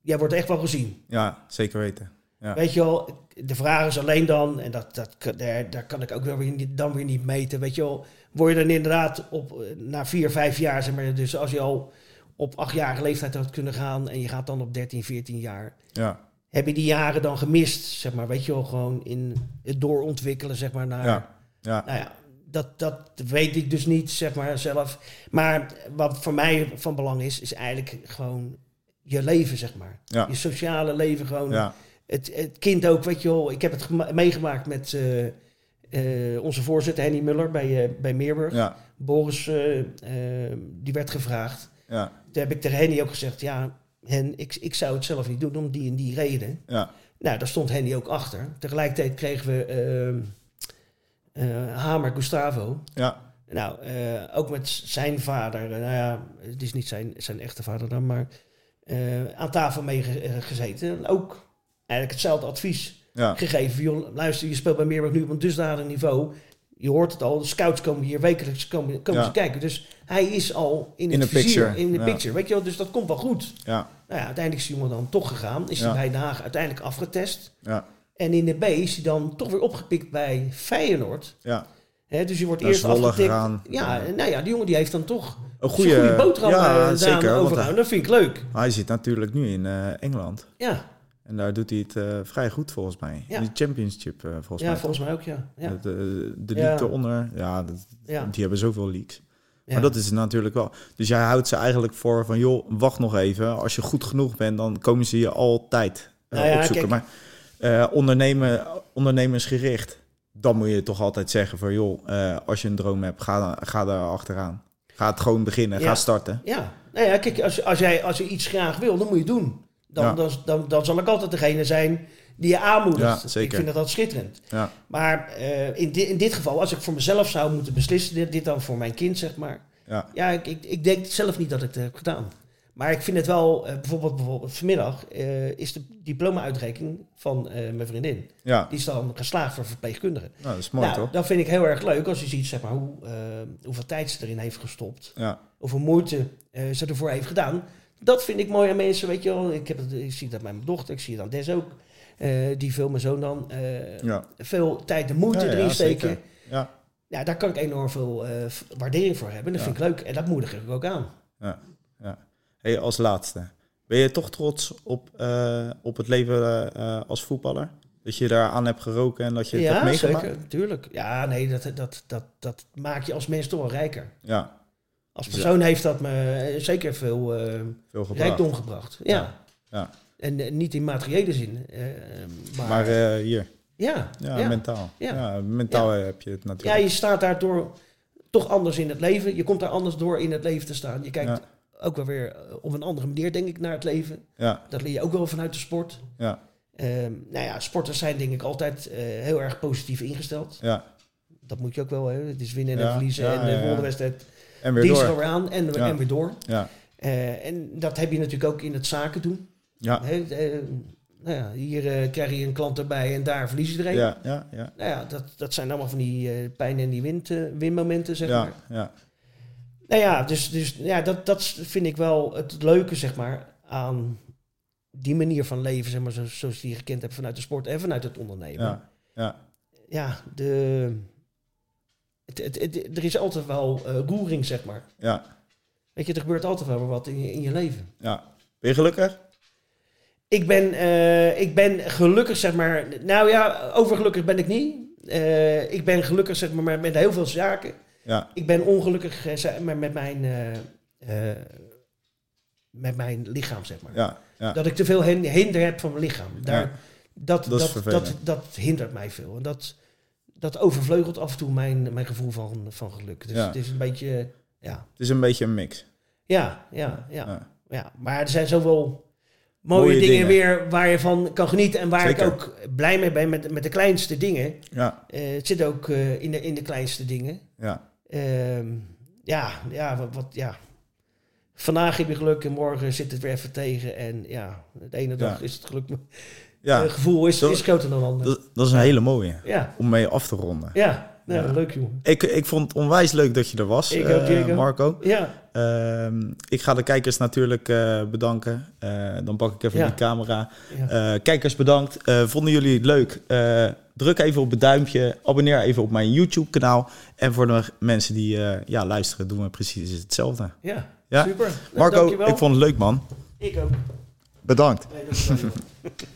Speaker 1: Jij wordt echt wel gezien.
Speaker 2: ja, zeker weten. Ja.
Speaker 1: Weet je wel, de vraag is alleen dan, en dat, dat, daar, daar kan ik ook dan weer, niet, dan weer niet meten. Weet je wel, word je dan inderdaad op, eh, na vier, vijf jaar, zeg maar, dus als je al op achtjarige leeftijd had kunnen gaan en je gaat dan op 13, 14 jaar.
Speaker 2: Ja,
Speaker 1: Heb je die jaren dan gemist, zeg maar, weet je wel, gewoon in het doorontwikkelen, zeg maar, naar...
Speaker 2: ja, ja.
Speaker 1: Nou ja, dat, dat weet ik dus niet, zeg maar, zelf. Maar wat voor mij van belang is, is eigenlijk gewoon je leven, zeg maar.
Speaker 2: Ja.
Speaker 1: Je sociale leven gewoon.
Speaker 2: ja.
Speaker 1: Het, het kind ook, weet je wel. Ik heb het gema- meegemaakt met eh, eh, onze voorzitter Henny Muller bij, eh, bij Meerburg.
Speaker 2: Ja,
Speaker 1: Boris, eh, eh, die werd gevraagd.
Speaker 2: ja,
Speaker 1: Toen heb ik tegen Henny ook gezegd, ja, Hen, ik, ik zou het zelf niet doen om die en die reden.
Speaker 2: ja,
Speaker 1: Nou, daar stond Henny ook achter. Tegelijkertijd kregen we ehm, eh, eh, Hamer Gustavo.
Speaker 2: ja,
Speaker 1: Nou, eh, ook met z- zijn vader, eh, nou ja, het is niet zijn, zijn echte vader dan, maar eh, aan tafel mee ge- eh, gezeten. En ook eigenlijk hetzelfde advies
Speaker 2: ja,
Speaker 1: gegeven. Joh, luister, je speelt bij Meerburg nu op een dusdanig niveau. Je hoort het al, de scouts komen hier wekelijks komen, komen
Speaker 2: Ja.
Speaker 1: ze kijken. Dus hij is al in,
Speaker 2: In
Speaker 1: het
Speaker 2: the
Speaker 1: vizier,
Speaker 2: picture,
Speaker 1: in de
Speaker 2: ja.
Speaker 1: picture. Weet je wel, dus dat komt wel goed.
Speaker 2: ja,
Speaker 1: Nou ja, uiteindelijk is die jongen dan toch gegaan. Is
Speaker 2: Ja.
Speaker 1: hij bij Den Haag uiteindelijk afgetest.
Speaker 2: ja,
Speaker 1: En in de B is hij dan toch weer opgepikt bij Feyenoord.
Speaker 2: ja.
Speaker 1: Hè, dus je wordt
Speaker 2: Naar
Speaker 1: eerst
Speaker 2: Zwolle
Speaker 1: afgetikt.
Speaker 2: gegaan.
Speaker 1: Ja, nou ja, die jongen die heeft dan toch
Speaker 2: Een
Speaker 1: goede, goede boterham eh,
Speaker 2: ja,
Speaker 1: ja,
Speaker 2: zeker, want
Speaker 1: overhouden. Dat vind ik leuk.
Speaker 2: hij zit natuurlijk nu in eh, Engeland.
Speaker 1: Ja,
Speaker 2: En daar doet hij het eh, vrij goed volgens mij.
Speaker 1: Ja.
Speaker 2: In de championship eh, volgens
Speaker 1: ja
Speaker 2: mij.
Speaker 1: volgens mij ook, ja. ja,
Speaker 2: Het, eh, de
Speaker 1: Ja.
Speaker 2: league eronder. Ja, dat-
Speaker 1: ja.
Speaker 2: die hebben zoveel leaks.
Speaker 1: ja.
Speaker 2: Maar dat is het natuurlijk wel. Dus jij houdt ze eigenlijk voor van, joh, wacht nog even. Als je goed genoeg bent, dan komen ze je altijd eh,
Speaker 1: Nou ja,
Speaker 2: opzoeken.
Speaker 1: kijk.
Speaker 2: Maar eh ondernemen, ondernemersgericht, dan moet je toch altijd zeggen van, joh, eh, als je een droom hebt, ga, ga daar achteraan. Ga het gewoon beginnen,
Speaker 1: Ja.
Speaker 2: ga starten.
Speaker 1: ja. Nou ja, kijk, als, als, jij, als je iets graag wil, dan moet je het doen. Dan,
Speaker 2: Ja.
Speaker 1: dan, dan, dan zal ik altijd degene zijn die je aanmoedigt.
Speaker 2: Ja, zeker.
Speaker 1: Ik vind dat altijd schitterend.
Speaker 2: Ja,
Speaker 1: Maar eh, in, di- in dit geval, als ik voor mezelf zou moeten beslissen, dit, dit dan voor mijn kind, zeg maar.
Speaker 2: ja,
Speaker 1: Ja, ik, ik, ik denk zelf niet dat ik het heb gedaan. Maar ik vind het wel, eh, bijvoorbeeld, bijvoorbeeld vanmiddag eh, is de diploma-uitreiking van eh, mijn vriendin.
Speaker 2: ja.
Speaker 1: Die is dan geslaagd voor verpleegkundigen.
Speaker 2: Nou, dat is mooi,
Speaker 1: nou,
Speaker 2: toch?
Speaker 1: dat vind ik heel erg leuk als je ziet zeg maar, hoe, eh, hoeveel tijd ze erin heeft gestopt.
Speaker 2: Ja,
Speaker 1: Hoeveel moeite eh, ze ervoor heeft gedaan. Dat vind ik mooi aan mensen, weet je wel. Ik, heb het, ik zie dat bij mijn dochter, ik zie het aan Des ook. eh, die veel, mijn zoon dan, eh,
Speaker 2: ja.
Speaker 1: veel tijd en moeite
Speaker 2: Ja, ja,
Speaker 1: erin steken.
Speaker 2: zeker. Ja.
Speaker 1: Ja, daar kan ik enorm veel eh, v- waardering voor hebben. Dat
Speaker 2: Ja.
Speaker 1: vind ik leuk en dat moedig ik ook aan.
Speaker 2: Hey, als laatste. Ben je toch trots op, eh, op het leven eh, eh, als voetballer? Dat je daar aan hebt geroken en dat je het hebt meegemaakt?
Speaker 1: zeker, natuurlijk. Ja, nee, dat, dat, dat, dat maakt je als mens toch wel rijker.
Speaker 2: Ja,
Speaker 1: Als
Speaker 2: Ja.
Speaker 1: persoon heeft dat me eh, zeker veel eh,
Speaker 2: veel gebracht.
Speaker 1: rijkdom gebracht. Ja.
Speaker 2: Ja. Ja.
Speaker 1: En eh, niet in materiële zin. eh, eh, maar
Speaker 2: Maar eh, hier,
Speaker 1: ja, ja,
Speaker 2: ja, mentaal. Ja.
Speaker 1: Ja.
Speaker 2: mentaal heb je het
Speaker 1: ja,
Speaker 2: natuurlijk.
Speaker 1: je staat daardoor toch anders in het leven. Je komt daar anders door in het leven te staan. Je kijkt
Speaker 2: Ja.
Speaker 1: ook wel weer eh, op een andere manier, denk ik, naar het leven.
Speaker 2: Ja,
Speaker 1: Dat leer je ook wel vanuit de sport.
Speaker 2: ja,
Speaker 1: Ehm, nou ja, sporters zijn denk ik altijd eh, heel erg positief ingesteld.
Speaker 2: ja.
Speaker 1: Dat moet je ook wel. Hè? Het is winnen en
Speaker 2: Ja,
Speaker 1: verliezen
Speaker 2: ja,
Speaker 1: en de
Speaker 2: ja, ja.
Speaker 1: volgende wedstrijd.
Speaker 2: En weer
Speaker 1: Die is er
Speaker 2: door.
Speaker 1: weer aan en,
Speaker 2: Ja.
Speaker 1: en weer door.
Speaker 2: Ja,
Speaker 1: Eh, en dat heb je natuurlijk ook in het zaken doen.
Speaker 2: ja,
Speaker 1: Hè, eh, nou ja, hier eh, krijg je een klant erbij en daar verlies je er een.
Speaker 2: ja, ja, ja.
Speaker 1: Nou ja, dat, dat zijn allemaal van die eh, pijn- en die wind, eh, winmomenten, zeg
Speaker 2: Ja,
Speaker 1: maar.
Speaker 2: ja,
Speaker 1: Nou ja, dus, dus ja, dat, dat vind ik wel het leuke, zeg maar, aan die manier van leven, zeg maar, zo- zoals je die gekend hebt vanuit de sport en vanuit het ondernemen.
Speaker 2: ja, ja,
Speaker 1: ja, de, het, het, het- er is altijd wel eh, roering, zeg maar.
Speaker 2: ja,
Speaker 1: Weet je, er gebeurt altijd wel weer wat in, je- in je leven.
Speaker 2: ja. Ben je gelukkig?
Speaker 1: Ik ben, eh, ik ben gelukkig, zeg maar. Nou ja, overgelukkig ben ik niet. Eh, ik ben gelukkig, zeg maar, maar met heel veel zaken.
Speaker 2: Ja,
Speaker 1: Ik ben ongelukkig eh, zeg maar, met, mijn, eh, eh, met mijn lichaam, zeg maar.
Speaker 2: ja, ja.
Speaker 1: Dat ik te veel hin- hinder heb van mijn lichaam. Daar,
Speaker 2: Ja.
Speaker 1: dat,
Speaker 2: Dat
Speaker 1: dat,
Speaker 2: is
Speaker 1: dat,
Speaker 2: vervelend.
Speaker 1: dat, hindert mij veel. En dat, dat overvleugelt af en toe mijn, mijn gevoel van, van geluk. Dus
Speaker 2: Ja.
Speaker 1: het is een beetje... eh, Ja,
Speaker 2: Het is een beetje een mix.
Speaker 1: ja, ja, ja, ja.
Speaker 2: Ja.
Speaker 1: Maar er zijn zoveel mooie,
Speaker 2: Mooie
Speaker 1: dingen,
Speaker 2: dingen.
Speaker 1: weer waar je van kan genieten. En waar
Speaker 2: Zeker.
Speaker 1: ik ook blij mee ben met, met de kleinste dingen.
Speaker 2: Ja,
Speaker 1: Eh, het zit ook eh, in, de, in de kleinste dingen.
Speaker 2: ja,
Speaker 1: Ehm, ja, ja, wat, wat- ja. Vandaag heb je geluk en morgen zit het weer even tegen. En ja, de ene dag
Speaker 2: Ja.
Speaker 1: is het geluk.
Speaker 2: ja.
Speaker 1: het gevoel is,
Speaker 2: Zo-
Speaker 1: is groter dan de andere.
Speaker 2: Dat, dat is een hele mooie
Speaker 1: Ja,
Speaker 2: om mee af te ronden.
Speaker 1: ja. nou, leuk jongen.
Speaker 2: Ik, ik vond het onwijs leuk dat je er was,
Speaker 1: Ik ook,
Speaker 2: eh,
Speaker 1: Diego.
Speaker 2: Marco.
Speaker 1: Ja,
Speaker 2: Ehm, ik ga de kijkers natuurlijk eh, bedanken. Eh, dan pak ik even
Speaker 1: Ja.
Speaker 2: die camera.
Speaker 1: ja.
Speaker 2: Eh, kijkers, bedankt. Eh, vonden jullie het leuk? Eh, druk even op het duimpje. Abonneer even op mijn YouTube-kanaal. En voor de mensen die eh, ja, luisteren, doen we precies hetzelfde.
Speaker 1: ja.
Speaker 2: Ja.
Speaker 1: super. Nou,
Speaker 2: Marco,
Speaker 1: dankjewel.
Speaker 2: ik vond het leuk, man.
Speaker 1: Ik ook.
Speaker 2: Bedankt.
Speaker 1: Nee, dankjewel, joh.